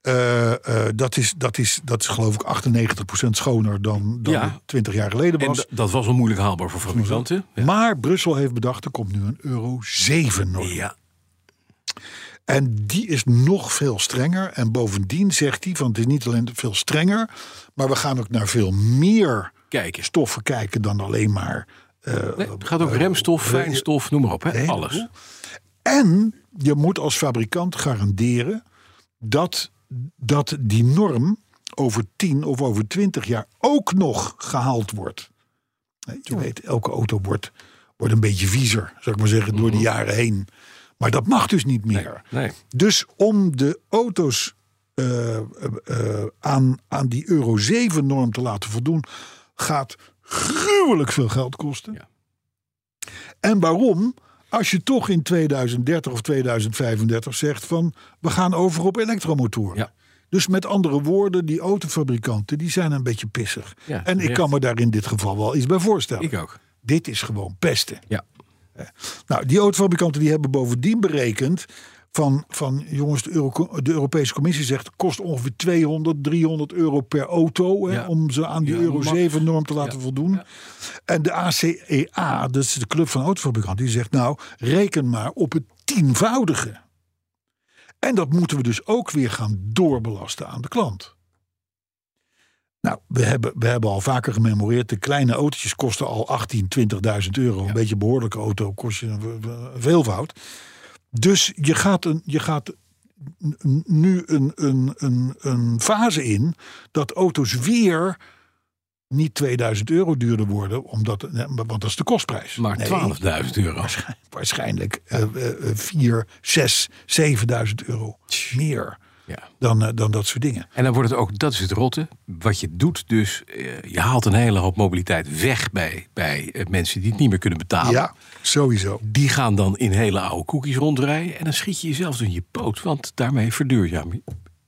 [SPEAKER 3] Eh, Eh, eh, dat, is, dat, is, dat is geloof ik 98% schoner dan, dan
[SPEAKER 4] Ja.
[SPEAKER 3] het 20 jaar geleden
[SPEAKER 4] En
[SPEAKER 3] was.
[SPEAKER 4] d- dat was al moeilijk haalbaar voor fabrikanten. Ja.
[SPEAKER 3] Maar Brussel heeft bedacht, er komt nu een euro 7 norm.
[SPEAKER 4] Ja.
[SPEAKER 3] En die is nog veel strenger. En bovendien zegt hij, van het is niet alleen veel strenger... maar we gaan ook naar veel meer
[SPEAKER 4] Kijken.
[SPEAKER 3] stoffen kijken dan alleen maar... eh,
[SPEAKER 4] Nee, het gaat ook remstof, fijnstof, noem maar op. Hè?
[SPEAKER 3] hele
[SPEAKER 4] Alles.
[SPEAKER 3] En je moet als fabrikant garanderen dat, dat die norm over 10 of over 20 jaar ook nog gehaald wordt. Hè, Je weet, elke auto wordt, wordt een beetje viezer, zou ik maar zeggen, door de jaren heen. Maar dat mag dus niet meer.
[SPEAKER 4] Nee.
[SPEAKER 3] Dus om de auto's eh, eh, eh, aan, aan die Euro 7 norm te laten voldoen, gaat gruwelijk veel geld kosten.
[SPEAKER 4] Ja.
[SPEAKER 3] En waarom? Als je toch in 2030 of 2035 zegt van we gaan over op elektromotoren.
[SPEAKER 4] Ja.
[SPEAKER 3] Dus met andere woorden, die autofabrikanten die zijn een beetje pissig.
[SPEAKER 4] Ja,
[SPEAKER 3] en ik
[SPEAKER 4] terecht.
[SPEAKER 3] kan me daar in dit geval wel iets bij voorstellen.
[SPEAKER 4] Ik ook.
[SPEAKER 3] Dit is gewoon pesten.
[SPEAKER 4] Ja.
[SPEAKER 3] Nou, die autofabrikanten die hebben bovendien berekend van, van jongens, de, Euro- de Europese Commissie zegt het kost ongeveer 200, 300 euro per auto hè,
[SPEAKER 4] Ja.
[SPEAKER 3] om ze aan die
[SPEAKER 4] Ja,
[SPEAKER 3] Euro
[SPEAKER 4] max.
[SPEAKER 3] 7 norm te laten voldoen. En de ACEA, dat is de club van autofabrikanten, die zegt nou, reken maar op het tienvoudige. En dat moeten we dus ook weer gaan doorbelasten aan de klant. Nou, we hebben, we hebben al vaker gememoreerd. De kleine autootjes kosten al 18, 20.000 euro. Een beetje een behoorlijke auto kost je een, een veelvoud. Dus je gaat, een, je gaat n- nu een, een, een, een fase in dat auto's weer niet 2000 euro duurder worden, omdat, nee, want dat is de kostprijs.
[SPEAKER 4] Maar
[SPEAKER 3] Nee,
[SPEAKER 4] 12.000 euro.
[SPEAKER 3] waarschijnlijk eh eh, eh, 4, 6, 7000 euro meer
[SPEAKER 4] Ja.
[SPEAKER 3] dan, eh, dan dat soort dingen.
[SPEAKER 4] En dan wordt het ook, dat is het rotte. Wat je doet dus, eh, je haalt een hele hoop mobiliteit weg bij, bij eh, mensen die het niet meer kunnen betalen.
[SPEAKER 3] Ja, sowieso.
[SPEAKER 4] Die gaan dan in hele oude koekjes rondrijden. En dan schiet je jezelf door je poot. Want daarmee verduurzaam je,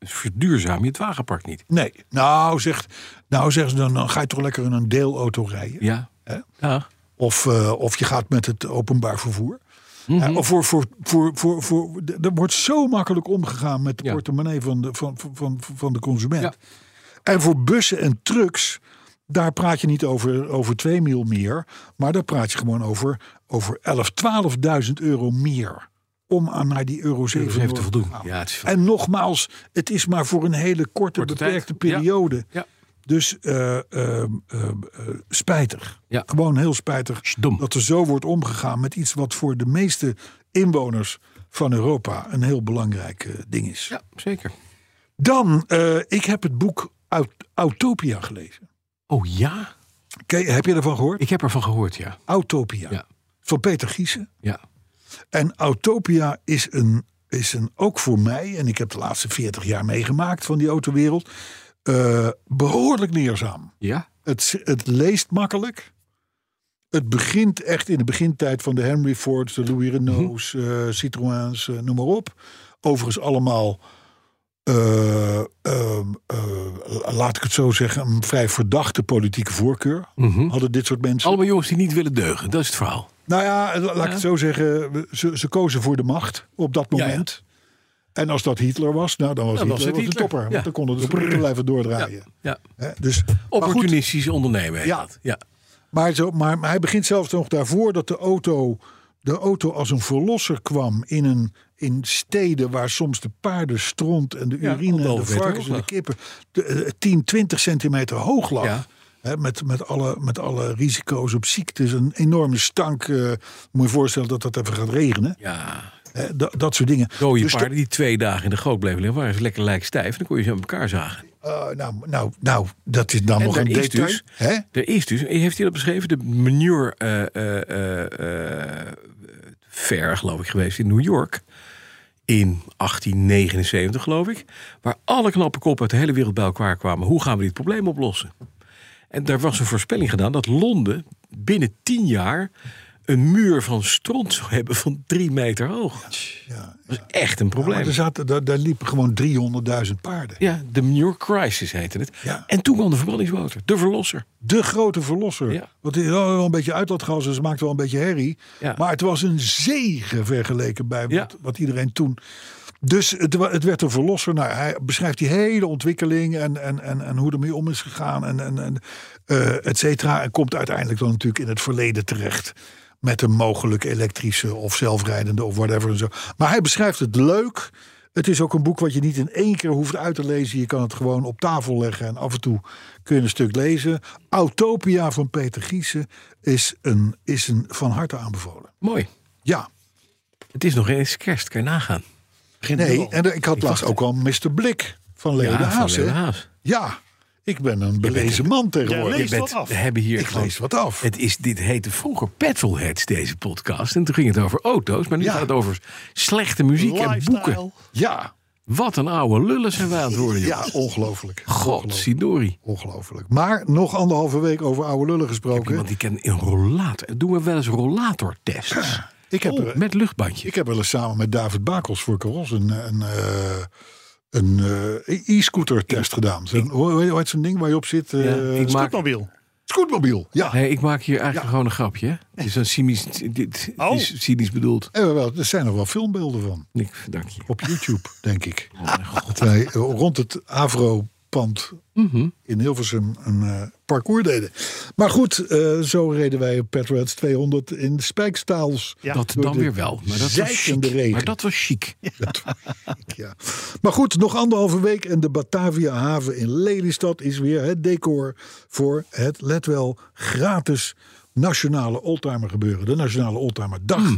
[SPEAKER 4] verduurzaam je het wagenpark niet.
[SPEAKER 3] Nee, nou zegt, nou zegt ze dan, dan ga je toch lekker in een deelauto rijden.
[SPEAKER 4] Ja. ja.
[SPEAKER 3] Of, eh, of je gaat met het openbaar vervoer.
[SPEAKER 4] Mhm.
[SPEAKER 3] Eh, of voor, voor, voor, voor, voor, d- er wordt zo makkelijk omgegaan met de
[SPEAKER 4] Ja.
[SPEAKER 3] portemonnee van de, van, van, van, van de consument.
[SPEAKER 4] Ja.
[SPEAKER 3] En voor bussen en trucks, daar praat je niet over, over 2 mil meer. Maar daar praat je gewoon over, over 11, 12.000 euro meer. Om aan naar die euro 7
[SPEAKER 4] Euro 7
[SPEAKER 3] norm
[SPEAKER 4] te voldoen.
[SPEAKER 3] gaan.
[SPEAKER 4] Ja, het is-
[SPEAKER 3] en nogmaals, het is maar voor een hele korte,
[SPEAKER 4] Korte tijd.
[SPEAKER 3] beperkte
[SPEAKER 4] Ja.
[SPEAKER 3] periode.
[SPEAKER 4] Ja.
[SPEAKER 3] Dus eh, eh, eh, eh, spijtig.
[SPEAKER 4] Ja.
[SPEAKER 3] Gewoon heel spijtig
[SPEAKER 4] Is dom.
[SPEAKER 3] dat er zo wordt omgegaan met iets wat voor de meeste inwoners van Europa een heel belangrijk eh, ding is.
[SPEAKER 4] Ja, zeker.
[SPEAKER 3] Dan, eh, ik heb het boek Aut- Autopia gelezen.
[SPEAKER 4] Oh ja?
[SPEAKER 3] Oké, heb je ervan gehoord?
[SPEAKER 4] Ik heb ervan gehoord, ja.
[SPEAKER 3] Autopia.
[SPEAKER 4] Ja.
[SPEAKER 3] Van Peter Giesen.
[SPEAKER 4] Ja.
[SPEAKER 3] En Autopia is een, is een, ook voor mij, en ik heb de laatste 40 jaar meegemaakt van die autowereld, eh, behoorlijk leerzaam.
[SPEAKER 4] Ja?
[SPEAKER 3] Het, het leest makkelijk. Het begint echt in de begintijd van de Henry Fords, de Louis Renaults, eh, Citroëns, eh, noem maar op. Overigens allemaal, eh, ehm, eh, laat ik het zo zeggen, een vrij verdachte politieke voorkeur. Hadden dit soort mensen.
[SPEAKER 4] Allemaal jongens die niet willen deugen. Dat is het verhaal.
[SPEAKER 3] Nou ja, la- laat ik het zo zeggen. we- Ze, ze kozen voor de macht op dat
[SPEAKER 4] ja.
[SPEAKER 3] moment. En als dat Hitler was, nou, dan was
[SPEAKER 4] Dan was
[SPEAKER 3] Hitler,
[SPEAKER 4] het
[SPEAKER 3] was een
[SPEAKER 4] Hitler.
[SPEAKER 3] topper.
[SPEAKER 4] Ja.
[SPEAKER 3] Want dan konden de spullen blijven doordraaien.
[SPEAKER 4] Ja.
[SPEAKER 3] Hè, Dus, maar Ah, goed,
[SPEAKER 4] Opportunistisch ondernemen. heet
[SPEAKER 3] Ja.
[SPEAKER 4] dat. ja.
[SPEAKER 3] maar, zo, maar, maar hij begint zelfs nog daarvoor dat de auto, de auto als een verlosser kwam in, een, in steden waar soms de paarden stront en de
[SPEAKER 4] Ja,
[SPEAKER 3] urine en de
[SPEAKER 4] anderhalve meter
[SPEAKER 3] varkens en de
[SPEAKER 4] hoog
[SPEAKER 3] kippen de, eh, 10, 20 centimeter hoog lag.
[SPEAKER 4] Ja.
[SPEAKER 3] Hè, met, met, alle, met alle risico's op ziektes, een enorme stank. eh, moet je voorstellen dat dat even gaat regenen.
[SPEAKER 4] Ja.
[SPEAKER 3] Eh, da- dat soort dingen.
[SPEAKER 4] Dode
[SPEAKER 3] Dus de-
[SPEAKER 4] paarden die twee dagen in de goot bleven liggen, waren ze lekker lijkstijf. En dan kon je ze aan elkaar zagen.
[SPEAKER 3] eh, nou, nou, nou, dat is dan
[SPEAKER 4] En
[SPEAKER 3] nog
[SPEAKER 4] daar
[SPEAKER 3] een
[SPEAKER 4] is
[SPEAKER 3] detail.
[SPEAKER 4] dus-
[SPEAKER 3] hè?
[SPEAKER 4] Er is dus, heeft hij dat beschreven, de manure eh, eh, eh, eh, fair, geloof ik, geweest in New York. In 1879, geloof ik. Waar alle knappe koppen uit de hele wereld bij elkaar kwamen. Hoe gaan we dit probleem oplossen? En daar was een voorspelling gedaan dat Londen binnen tien jaar een muur van stront zou hebben van drie meter hoog.
[SPEAKER 3] Ja.
[SPEAKER 4] Dat is echt een probleem.
[SPEAKER 3] Maar er zaten, daar, daar liepen gewoon 300.000 paarden.
[SPEAKER 4] Ja, de manure crisis heette het.
[SPEAKER 3] Ja.
[SPEAKER 4] En toen kwam de verbrandingsmotor, de verlosser.
[SPEAKER 3] De grote verlosser.
[SPEAKER 4] Ja.
[SPEAKER 3] Want het is wel een beetje uitlaatgas, dus het maakt wel een beetje herrie.
[SPEAKER 4] Ja.
[SPEAKER 3] Maar het was een zegen vergeleken bij wat,
[SPEAKER 4] Ja.
[SPEAKER 3] wat iedereen toen... Dus het, wa- het werd een verlosser. Nou, hij beschrijft die hele ontwikkeling en, en, en, en hoe ermee om is gegaan en, en, en eh, et cetera. En komt uiteindelijk dan natuurlijk in het verleden terecht. Met een mogelijk elektrische of zelfrijdende of whatever. En zo. Maar hij beschrijft het leuk. Het is ook een boek wat je niet in één keer hoeft uit te lezen. Je kan het gewoon op tafel leggen en af en toe kun je een stuk lezen. Autopia van Peter Giesen is, een, is een van harte aanbevolen.
[SPEAKER 4] Mooi.
[SPEAKER 3] Ja,
[SPEAKER 4] Het is nog eens kerst, kan je nagaan.
[SPEAKER 3] nee, en ik had laatst ook al Mr. Blik van Leo de
[SPEAKER 4] van
[SPEAKER 3] Haas. hè?
[SPEAKER 4] Leo Haas.
[SPEAKER 3] Ja, ik ben een belezen man tegenwoordig.
[SPEAKER 5] leest
[SPEAKER 3] Ik ben-
[SPEAKER 5] wat af.
[SPEAKER 4] We hebben hier
[SPEAKER 3] Ik
[SPEAKER 4] gewoon-
[SPEAKER 3] lees wat af.
[SPEAKER 4] Het is, dit heette vroeger petrolheads, deze podcast. En toen ging het over auto's, maar nu
[SPEAKER 3] Ja.
[SPEAKER 4] gaat het over slechte muziek en boeken.
[SPEAKER 3] Ja,
[SPEAKER 4] Wat een oude lullen zijn wij aan het worden, joh.
[SPEAKER 3] ja ongelooflijk.
[SPEAKER 4] God, Sidori.
[SPEAKER 3] Ongelooflijk. Maar nog anderhalve week over oude lullen gesproken.
[SPEAKER 4] Want die kennen een rollator. Doen we wel eens rollatortests. Oh,
[SPEAKER 3] ik, heb er,
[SPEAKER 4] Met luchtbandje.
[SPEAKER 3] ik heb wel eens samen met David Bakels voor Caros een, een, eh, een eh, e-scooter test gedaan. Zo'n- hoe hoe heet zo'n ding waar je op zit? Eh
[SPEAKER 4] ik maak,
[SPEAKER 5] Scootmobiel.
[SPEAKER 3] Scootmobiel, ja.
[SPEAKER 4] nee, ik maak hier eigenlijk gewoon een grapje. hè. Het is een cynisch, dit,
[SPEAKER 5] Oh.
[SPEAKER 4] is cynisch bedoeld.
[SPEAKER 3] En Eh, wel, er zijn nog wel filmbeelden van.
[SPEAKER 4] Ik, dank je.
[SPEAKER 3] op YouTube, denk ik. Dat wij eh, rond het Avro-pand
[SPEAKER 4] Mhm.
[SPEAKER 3] in Hilversum een eh, parcours deden. Maar goed, eh, zo reden wij op Petroheads 200 in spijkstaals.
[SPEAKER 5] Ja.
[SPEAKER 4] dat
[SPEAKER 3] door
[SPEAKER 4] dan
[SPEAKER 3] de
[SPEAKER 4] weer wel. Maar dat, was
[SPEAKER 3] zeikende
[SPEAKER 4] chic.
[SPEAKER 3] regen.
[SPEAKER 4] maar dat was chic.
[SPEAKER 3] Ja. Maar goed, nog anderhalve week en de Batavia haven in Lelystad is weer het decor voor het, let wel, gratis nationale oldtimer gebeuren. De Nationale Oldtimer Dag.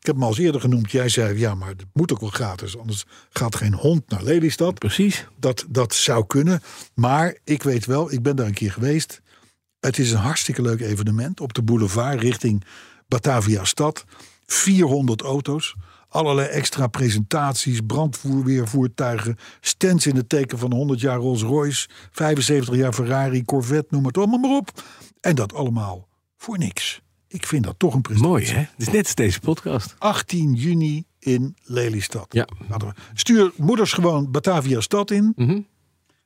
[SPEAKER 3] Ik heb hem al eens eerder genoemd. Jij zei, ja, maar het moet ook wel gratis. Anders gaat geen hond naar Lelystad.
[SPEAKER 4] Precies.
[SPEAKER 3] Dat, dat zou kunnen. Maar ik weet wel, ik ben daar een keer geweest. Het is een hartstikke leuk evenement op de boulevard richting Batavia stad. 400 auto's, allerlei extra presentaties, brandweervoertuigen, stands in het teken van 100 jaar Rolls-Royce, 75 jaar Ferrari, Corvette, noem het allemaal maar op. En dat allemaal voor niks. Ik vind dat toch een prestatie.
[SPEAKER 4] Mooi, hè? Het is net als deze podcast.
[SPEAKER 3] 18 juni in Lelystad.
[SPEAKER 4] Ja.
[SPEAKER 3] Laten we- Stuur moeders gewoon Batavia stad in.
[SPEAKER 4] Mhm.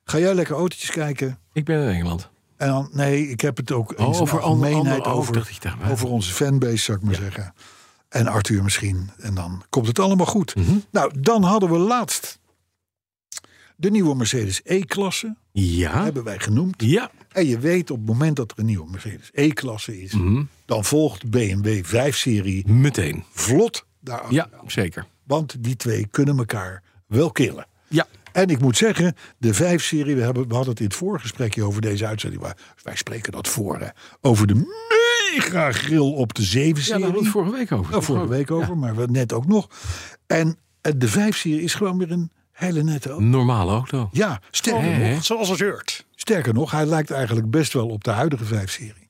[SPEAKER 3] Ga jij lekker autootjes kijken.
[SPEAKER 4] Ik ben in Engeland.
[SPEAKER 3] En dan, nee, ik heb het ook in
[SPEAKER 4] Oh,
[SPEAKER 3] zijn
[SPEAKER 4] over ander-
[SPEAKER 3] algemeenheid
[SPEAKER 4] ander- oh, ik dacht
[SPEAKER 3] over,
[SPEAKER 4] ik daar maar.
[SPEAKER 3] over onze fanbase, zou ik maar zeggen. En Arthur misschien. En dan komt het allemaal goed.
[SPEAKER 4] Mhm.
[SPEAKER 3] Nou, dan hadden we laatst de nieuwe Mercedes E-klasse.
[SPEAKER 4] Ja.
[SPEAKER 3] Hebben wij genoemd.
[SPEAKER 4] Ja.
[SPEAKER 3] En je weet op het moment dat er een nieuwe Mercedes E-klasse is...
[SPEAKER 4] Mhm.
[SPEAKER 3] dan volgt BMW 5-serie
[SPEAKER 4] Meteen.
[SPEAKER 3] vlot daarachter.
[SPEAKER 4] Oh, Ja, zeker.
[SPEAKER 3] Want die twee kunnen elkaar wel killen.
[SPEAKER 4] Ja.
[SPEAKER 3] En ik moet zeggen, de 5-serie, we, hebben- we hadden het in het voorgesprekje over deze uitzending, maar wij spreken dat voor, hè, over de mega grill op de
[SPEAKER 4] Ja, daar hadden we
[SPEAKER 3] 7-serie.
[SPEAKER 4] het vorige week over.
[SPEAKER 3] Nou, vorige week over, maar we- net ook nog. En eh, de 5-serie is gewoon weer een hele nette auto.
[SPEAKER 4] Normale auto.
[SPEAKER 3] Ja, sterker,
[SPEAKER 4] Oh. Hè, hè?
[SPEAKER 5] Zoals het heurt.
[SPEAKER 3] sterker nog, hij lijkt eigenlijk best wel op de huidige 5-serie.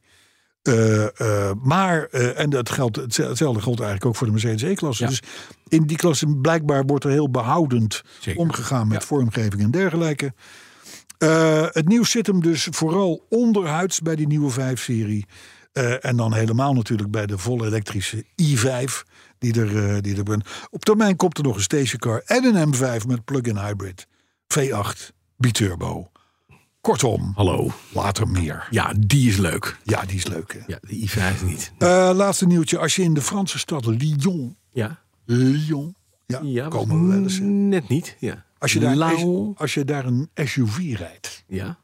[SPEAKER 3] Eh, eh, maar, eh, en dat geldt, hetze- hetzelfde geldt eigenlijk ook voor de Mercedes E-klasse.
[SPEAKER 4] Ja.
[SPEAKER 3] Dus in die klasse blijkbaar wordt er heel behoudend
[SPEAKER 4] Zeker.
[SPEAKER 3] omgegaan met
[SPEAKER 4] Ja.
[SPEAKER 3] vormgeving en dergelijke. Eh, het nieuws zit hem dus vooral onderhuids bij die nieuwe 5-serie. Eh, en dan helemaal natuurlijk bij de volle elektrische i5 die er, eh, die er Op termijn komt er nog een stationcar en een M5 met plug-in hybrid. V8, biturbo. Kortom,
[SPEAKER 4] Hallo.
[SPEAKER 3] later meer.
[SPEAKER 4] Ja, die is leuk.
[SPEAKER 3] Ja, die is leuk. hè.
[SPEAKER 4] Ja, de i5 niet.
[SPEAKER 3] Eh, laatste nieuwtje. Als je in de Franse stad Lyon...
[SPEAKER 4] Ja.
[SPEAKER 3] Lyon? Ja,
[SPEAKER 4] ja
[SPEAKER 3] komen we wel eens. hè.
[SPEAKER 4] Net niet. Ja.
[SPEAKER 3] Als je, daar
[SPEAKER 4] Lau-
[SPEAKER 3] een, als je daar een SUV rijdt
[SPEAKER 4] Ja.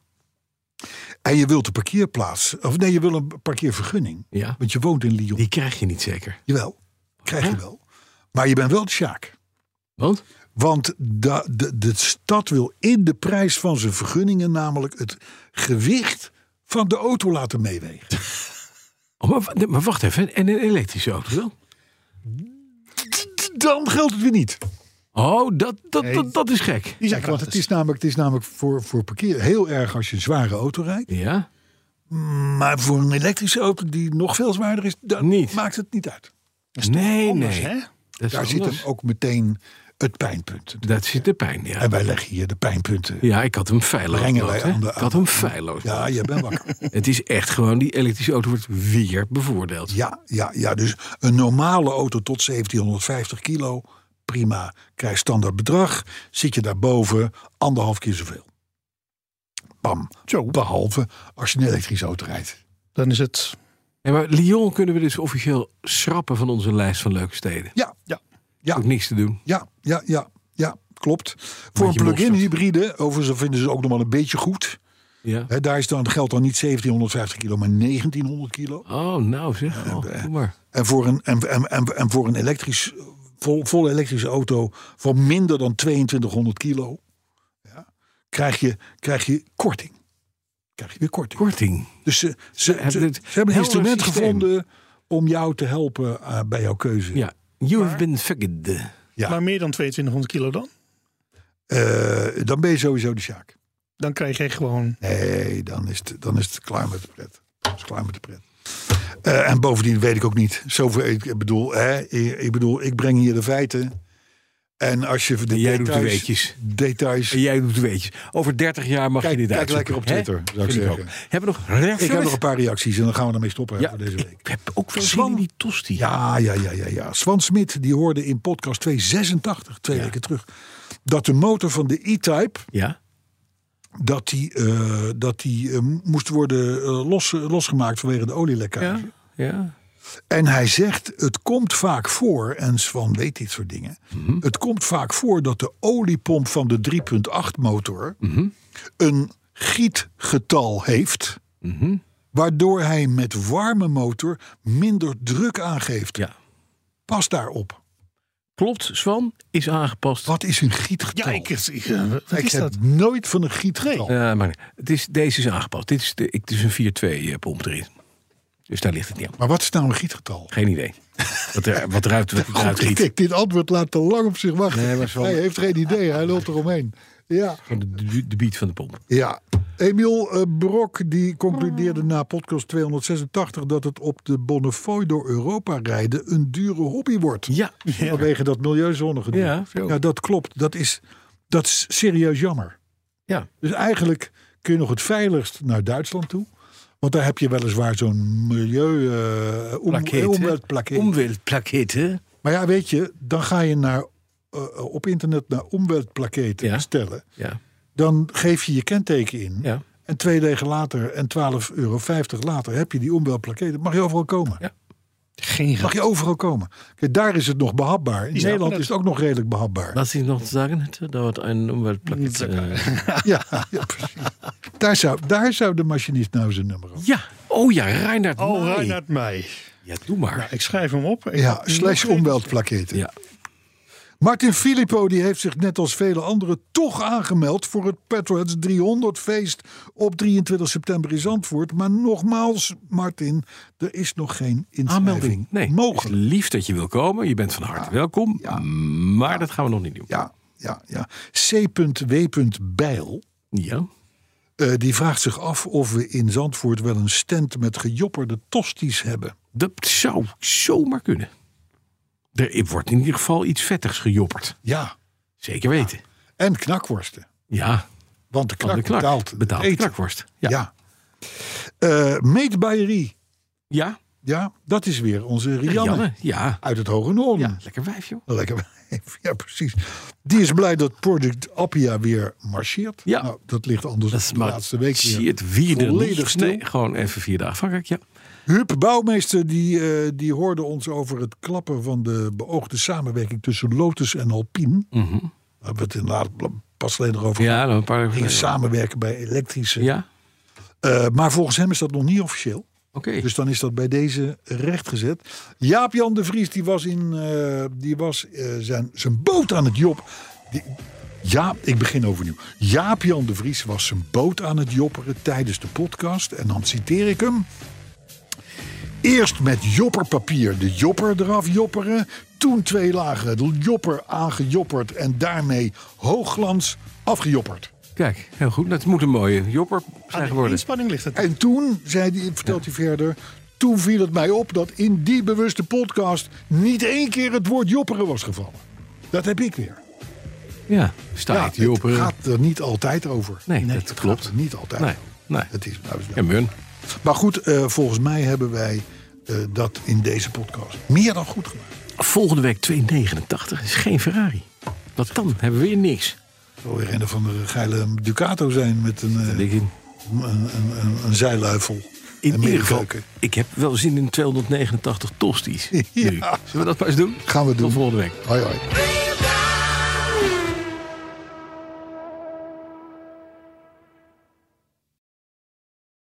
[SPEAKER 3] en je wilt de parkeerplaats... Of nee, je wil een parkeervergunning.
[SPEAKER 4] Ja.
[SPEAKER 3] Want je woont in Lyon.
[SPEAKER 4] Die krijg je niet zeker.
[SPEAKER 3] Jawel, krijg je
[SPEAKER 4] Ja.
[SPEAKER 3] wel. Maar je bent wel de Sjaak.
[SPEAKER 4] Want?
[SPEAKER 3] Want de, de, de stad wil in de prijs van zijn vergunningen... namelijk het gewicht van de auto laten meewegen.
[SPEAKER 4] Oh, maar, wa- nee, maar wacht even. En een elektrische auto wel?
[SPEAKER 3] Dan geldt het weer niet.
[SPEAKER 4] Oh, dat, dat, dat, dat is gek.
[SPEAKER 5] Die zijn
[SPEAKER 3] Kijk, want het
[SPEAKER 5] gratis.
[SPEAKER 3] is namelijk, het is namelijk voor, voor parkeer heel erg als je een zware auto rijdt.
[SPEAKER 4] Ja.
[SPEAKER 3] Maar voor een elektrische auto die nog veel zwaarder is, dan
[SPEAKER 4] Niet.
[SPEAKER 3] maakt het niet uit.
[SPEAKER 4] Nee,
[SPEAKER 5] Anders,
[SPEAKER 4] nee.
[SPEAKER 5] hè?
[SPEAKER 4] Dat is
[SPEAKER 3] Daar zit
[SPEAKER 4] anders.
[SPEAKER 3] hem ook meteen het pijnpunt.
[SPEAKER 4] Dat zit de pijn, ja.
[SPEAKER 3] En wij leggen hier de pijnpunten.
[SPEAKER 4] Ja, ik had hem feilloos.
[SPEAKER 3] Brengen wij
[SPEAKER 4] gemaakt, hè.
[SPEAKER 3] aan de-
[SPEAKER 4] Ik had hem feilloos.
[SPEAKER 3] Ja, je bent wakker.
[SPEAKER 4] Het is echt gewoon, die elektrische auto wordt weer bevoordeeld.
[SPEAKER 3] Ja, ja, ja, dus een normale auto tot 1750 kilo, prima. Krijg standaard bedrag, zit je daarboven, anderhalf keer zoveel. Bam.
[SPEAKER 5] Zo.
[SPEAKER 3] Behalve als je een elektrische auto rijdt.
[SPEAKER 5] Dan is het...
[SPEAKER 4] Ja, maar Lyon kunnen we dus officieel schrappen van onze lijst van leuke steden.
[SPEAKER 3] Ja,
[SPEAKER 5] Ja.
[SPEAKER 3] Ja.
[SPEAKER 4] Ook niks te doen.
[SPEAKER 3] ja, ja, ja. Ja, klopt. Voor een
[SPEAKER 4] Beetje
[SPEAKER 3] plug-in
[SPEAKER 4] mosterd.
[SPEAKER 3] hybride, overigens vinden ze het ook nog wel een beetje goed.
[SPEAKER 4] Ja.
[SPEAKER 3] Hè, daar is dan, geldt dan niet 1750 kilo, maar 1900 kilo.
[SPEAKER 4] Oh, nou zeg. Oh, doe maar.
[SPEAKER 3] En voor een, en, en, en, en voor een elektrisch, vol, volle elektrische auto van minder dan 2200 kilo... Ja, krijg, je, krijg je korting. Krijg je weer korting.
[SPEAKER 4] Korting.
[SPEAKER 3] Dus ze, ze,
[SPEAKER 4] hebben
[SPEAKER 3] ze,
[SPEAKER 4] het
[SPEAKER 3] ze hebben een
[SPEAKER 4] helder
[SPEAKER 3] instrument
[SPEAKER 4] systeem.
[SPEAKER 3] gevonden om jou te helpen eh, bij jouw keuze.
[SPEAKER 4] Ja. You have been fucked.
[SPEAKER 3] Ja.
[SPEAKER 5] Maar meer dan 2200 kilo dan?
[SPEAKER 3] Eh, dan ben je sowieso de Sjaak.
[SPEAKER 5] Dan krijg je gewoon...
[SPEAKER 3] Nee, dan is, het, dan is het klaar met de pret. Dan is het klaar met de pret. Eh, en bovendien weet ik ook niet. Zoveel, ik, bedoel, hè, ik, ik bedoel, ik breng hier de feiten. En als je de
[SPEAKER 4] En jij doet de
[SPEAKER 3] details,
[SPEAKER 4] weetjes.
[SPEAKER 3] details
[SPEAKER 4] En jij doet het weetjes. Over 30 jaar mag
[SPEAKER 3] Kijk-
[SPEAKER 4] je dit
[SPEAKER 3] kijk
[SPEAKER 4] uitzoeken,
[SPEAKER 3] lekker op
[SPEAKER 4] hè?
[SPEAKER 3] Twitter, zou ik
[SPEAKER 4] Vind
[SPEAKER 3] zeggen.
[SPEAKER 4] ook. Hebben we nog reacties?
[SPEAKER 3] ik heb nog een paar reacties en dan gaan we ermee stoppen hè,
[SPEAKER 4] Ja,
[SPEAKER 3] voor deze week.
[SPEAKER 4] ik heb ook veel
[SPEAKER 3] Zwan-
[SPEAKER 4] zin in die tosti.
[SPEAKER 3] Ja, ja, ja, ja, ja. Swan Smit die hoorde in podcast 286, twee weken terug, dat de motor van de E-Type
[SPEAKER 4] Ja?
[SPEAKER 3] dat die, eh, dat die eh, moest worden eh, los, losgemaakt vanwege de olielekkage.
[SPEAKER 4] Ja? Ja?
[SPEAKER 3] En hij zegt, het komt vaak voor, en Swan weet dit soort dingen.
[SPEAKER 5] Mhm.
[SPEAKER 3] Het komt vaak voor dat de oliepomp van de 3.8 motor
[SPEAKER 5] Mhm.
[SPEAKER 3] een gietgetal heeft.
[SPEAKER 5] Mhm.
[SPEAKER 3] Waardoor hij met warme motor minder druk aangeeft.
[SPEAKER 4] Ja.
[SPEAKER 3] Pas daarop.
[SPEAKER 4] Klopt, Swan is aangepast.
[SPEAKER 3] Wat is een gietgetal?
[SPEAKER 5] Ja, ik, ik, eh, wat
[SPEAKER 3] Ik
[SPEAKER 5] is
[SPEAKER 3] heb
[SPEAKER 5] dat?
[SPEAKER 3] nooit van een gietgetal.
[SPEAKER 4] Eh, maar nee, het is, deze is aangepast. Dit is, de, het is een 4-2-pomp erin. Dus daar ligt het niet aan.
[SPEAKER 3] Maar wat is nou een gietgetal?
[SPEAKER 4] Geen idee. Wat, er, wat eruit, wat
[SPEAKER 5] Nou,
[SPEAKER 3] Goed,
[SPEAKER 4] eruit giet.
[SPEAKER 3] kijk, dit antwoord laat te lang op zich wachten.
[SPEAKER 4] Nee, maar zo-
[SPEAKER 3] Hij heeft geen idee, hij lult eromheen. Ja,
[SPEAKER 4] Gewoon De, de, de beat van de pomp.
[SPEAKER 3] ja. Emiel eh, Brok die concludeerde na podcast 286 dat het op de Bonnefoy door Europa rijden een dure hobby wordt.
[SPEAKER 4] Ja.
[SPEAKER 3] Vanwege dat milieuzonnige.
[SPEAKER 4] Ja, zo.
[SPEAKER 3] ja, dat klopt. Dat is, dat is serieus jammer.
[SPEAKER 4] Ja.
[SPEAKER 3] Dus eigenlijk kun je nog het veiligst naar Duitsland toe. Want daar heb je weliswaar zo'n milieu... eh om-
[SPEAKER 4] Plakkeet, hè?
[SPEAKER 3] omweltplakkeet.
[SPEAKER 4] Omweltplakketten.
[SPEAKER 3] Maar ja, weet je, dan ga je naar, eh, op internet naar omweltplakketten
[SPEAKER 4] Ja.
[SPEAKER 3] stellen.
[SPEAKER 4] Ja.
[SPEAKER 3] Dan geef je je kenteken in.
[SPEAKER 4] Ja.
[SPEAKER 3] En twee dagen later en 12,50 euro later heb je die omweltplakketten. Mag je overal komen.
[SPEAKER 4] Ja.
[SPEAKER 5] Geen
[SPEAKER 3] Mag
[SPEAKER 5] geld.
[SPEAKER 3] je overal komen. Kijk, daar is het nog behapbaar. In
[SPEAKER 5] Ja,
[SPEAKER 3] Nederland
[SPEAKER 5] dat-
[SPEAKER 3] is het ook nog redelijk behapbaar.
[SPEAKER 4] Was ich noch sagen hätte, dauert ein Umweltplakett. Äh,
[SPEAKER 3] Ja, ja, precies. Daar zou, daar zou de machinist nou zijn nummer op.
[SPEAKER 4] ja, oh ja, Reinhard.
[SPEAKER 5] Oh,
[SPEAKER 4] May.
[SPEAKER 5] Reinhard Mei.
[SPEAKER 4] Ja, du mal.
[SPEAKER 5] Ik schrijf hem op. Ik-
[SPEAKER 3] Ja, slash omweltplakketten.
[SPEAKER 4] Ja.
[SPEAKER 3] Martin Filippo die heeft zich net als vele anderen toch aangemeld voor het Petrolheads 300 feest op 23 september in Zandvoort. Maar nogmaals, Martin, er is nog geen inschrijving
[SPEAKER 4] Aanmelding. Nee,
[SPEAKER 3] mogelijk.
[SPEAKER 4] Is lief dat je wil komen. Je bent van harte welkom. Maar dat gaan we nog niet doen.
[SPEAKER 3] Ja, ja, ja. C.W. Bijl
[SPEAKER 4] Ja.
[SPEAKER 3] eh, die vraagt zich af of we in Zandvoort wel een stand met gejopperde tosties hebben.
[SPEAKER 4] Dat zou zomaar kunnen. Er wordt in ieder geval iets vettigs gejopperd.
[SPEAKER 3] Ja,
[SPEAKER 4] Zeker weten.
[SPEAKER 3] en knakworsten.
[SPEAKER 4] Ja,
[SPEAKER 3] Want de knak,
[SPEAKER 4] van de knak.
[SPEAKER 3] betaalt, het
[SPEAKER 4] Betaald
[SPEAKER 3] eten.
[SPEAKER 4] knakworst.
[SPEAKER 3] Ja.
[SPEAKER 4] Ja. ja.
[SPEAKER 3] Eh, Meet Bayerie.
[SPEAKER 4] ja.
[SPEAKER 3] Ja, dat is weer onze Rianne,
[SPEAKER 4] Janne, Ja.
[SPEAKER 3] uit het Hoge Noorden.
[SPEAKER 4] ja. Lekker wijf, joh.
[SPEAKER 3] Lekker wijf, ja precies. Die is blij dat Project Appia weer marcheert.
[SPEAKER 4] Ja.
[SPEAKER 3] Nou, dat ligt anders
[SPEAKER 4] Dat is
[SPEAKER 3] dan de laatste week
[SPEAKER 4] Zie
[SPEAKER 3] weer.
[SPEAKER 4] het wie er
[SPEAKER 3] volledig
[SPEAKER 4] niet-
[SPEAKER 3] stil.
[SPEAKER 4] Nee, gewoon even vier dagen. Van kijk, ja.
[SPEAKER 3] Huub Bouwmeester die, eh, die hoorde ons over het klappen van de beoogde samenwerking tussen Lotus en Alpine. Daar hebben we het inderdaad bl- pas alleen nog over.
[SPEAKER 4] Mhm. Ja, dan een paar
[SPEAKER 3] Gingen samenwerken bij elektrische.
[SPEAKER 4] Ja,
[SPEAKER 3] Eh, maar volgens hem is dat nog niet officieel.
[SPEAKER 4] oké.
[SPEAKER 3] Dus dan is dat bij deze rechtgezet. Jaap-Jan de Vries, die was, in, eh, die was eh, zijn, zijn boot aan het job. Die, ja, ik begin overnieuw. Jaap-Jan de Vries was zijn boot aan het jopperen tijdens de podcast. En dan citeer ik hem. Eerst met jopperpapier de jopper eraf jopperen. Toen twee lagen de jopper aangejopperd en daarmee hoogglans afgejopperd.
[SPEAKER 4] Kijk, heel goed. Dat moet een mooie jopper
[SPEAKER 3] Ah,
[SPEAKER 4] zijn
[SPEAKER 5] Aan de
[SPEAKER 4] geworden.
[SPEAKER 5] inspanning ligt het.
[SPEAKER 3] En toen, zei die, vertelt hij verder, toen viel het mij op dat in die bewuste podcast niet één keer het woord jopperen was gevallen. Dat heb ik weer.
[SPEAKER 4] Ja, staat
[SPEAKER 3] het
[SPEAKER 4] jopper.
[SPEAKER 3] gaat er niet altijd over.
[SPEAKER 4] Nee, dat
[SPEAKER 3] het
[SPEAKER 4] klopt.
[SPEAKER 3] gaat er niet altijd.
[SPEAKER 4] Nee,
[SPEAKER 3] over.
[SPEAKER 4] nee.
[SPEAKER 3] Het is, nou, het is
[SPEAKER 4] Ja, Mun.
[SPEAKER 3] Maar goed, eh, volgens mij hebben wij eh, dat in deze podcast meer dan goed gemaakt.
[SPEAKER 4] Volgende week 289 is geen Ferrari. Dat kan. Hebben we weer niks.
[SPEAKER 3] Het zal weer een van de geile Ducato zijn met een, eh,
[SPEAKER 4] Denk in.
[SPEAKER 3] een, een, een, een zijluifel.
[SPEAKER 4] In
[SPEAKER 3] en
[SPEAKER 4] ieder geval,
[SPEAKER 3] middenveuken.
[SPEAKER 4] ik heb wel zin in 289 tosties. nu.
[SPEAKER 3] Ja.
[SPEAKER 4] Zullen we dat maar eens doen?
[SPEAKER 3] Gaan we
[SPEAKER 4] Tot
[SPEAKER 3] doen.
[SPEAKER 4] volgende week.
[SPEAKER 3] Hoi hoi.
[SPEAKER 9] Real down.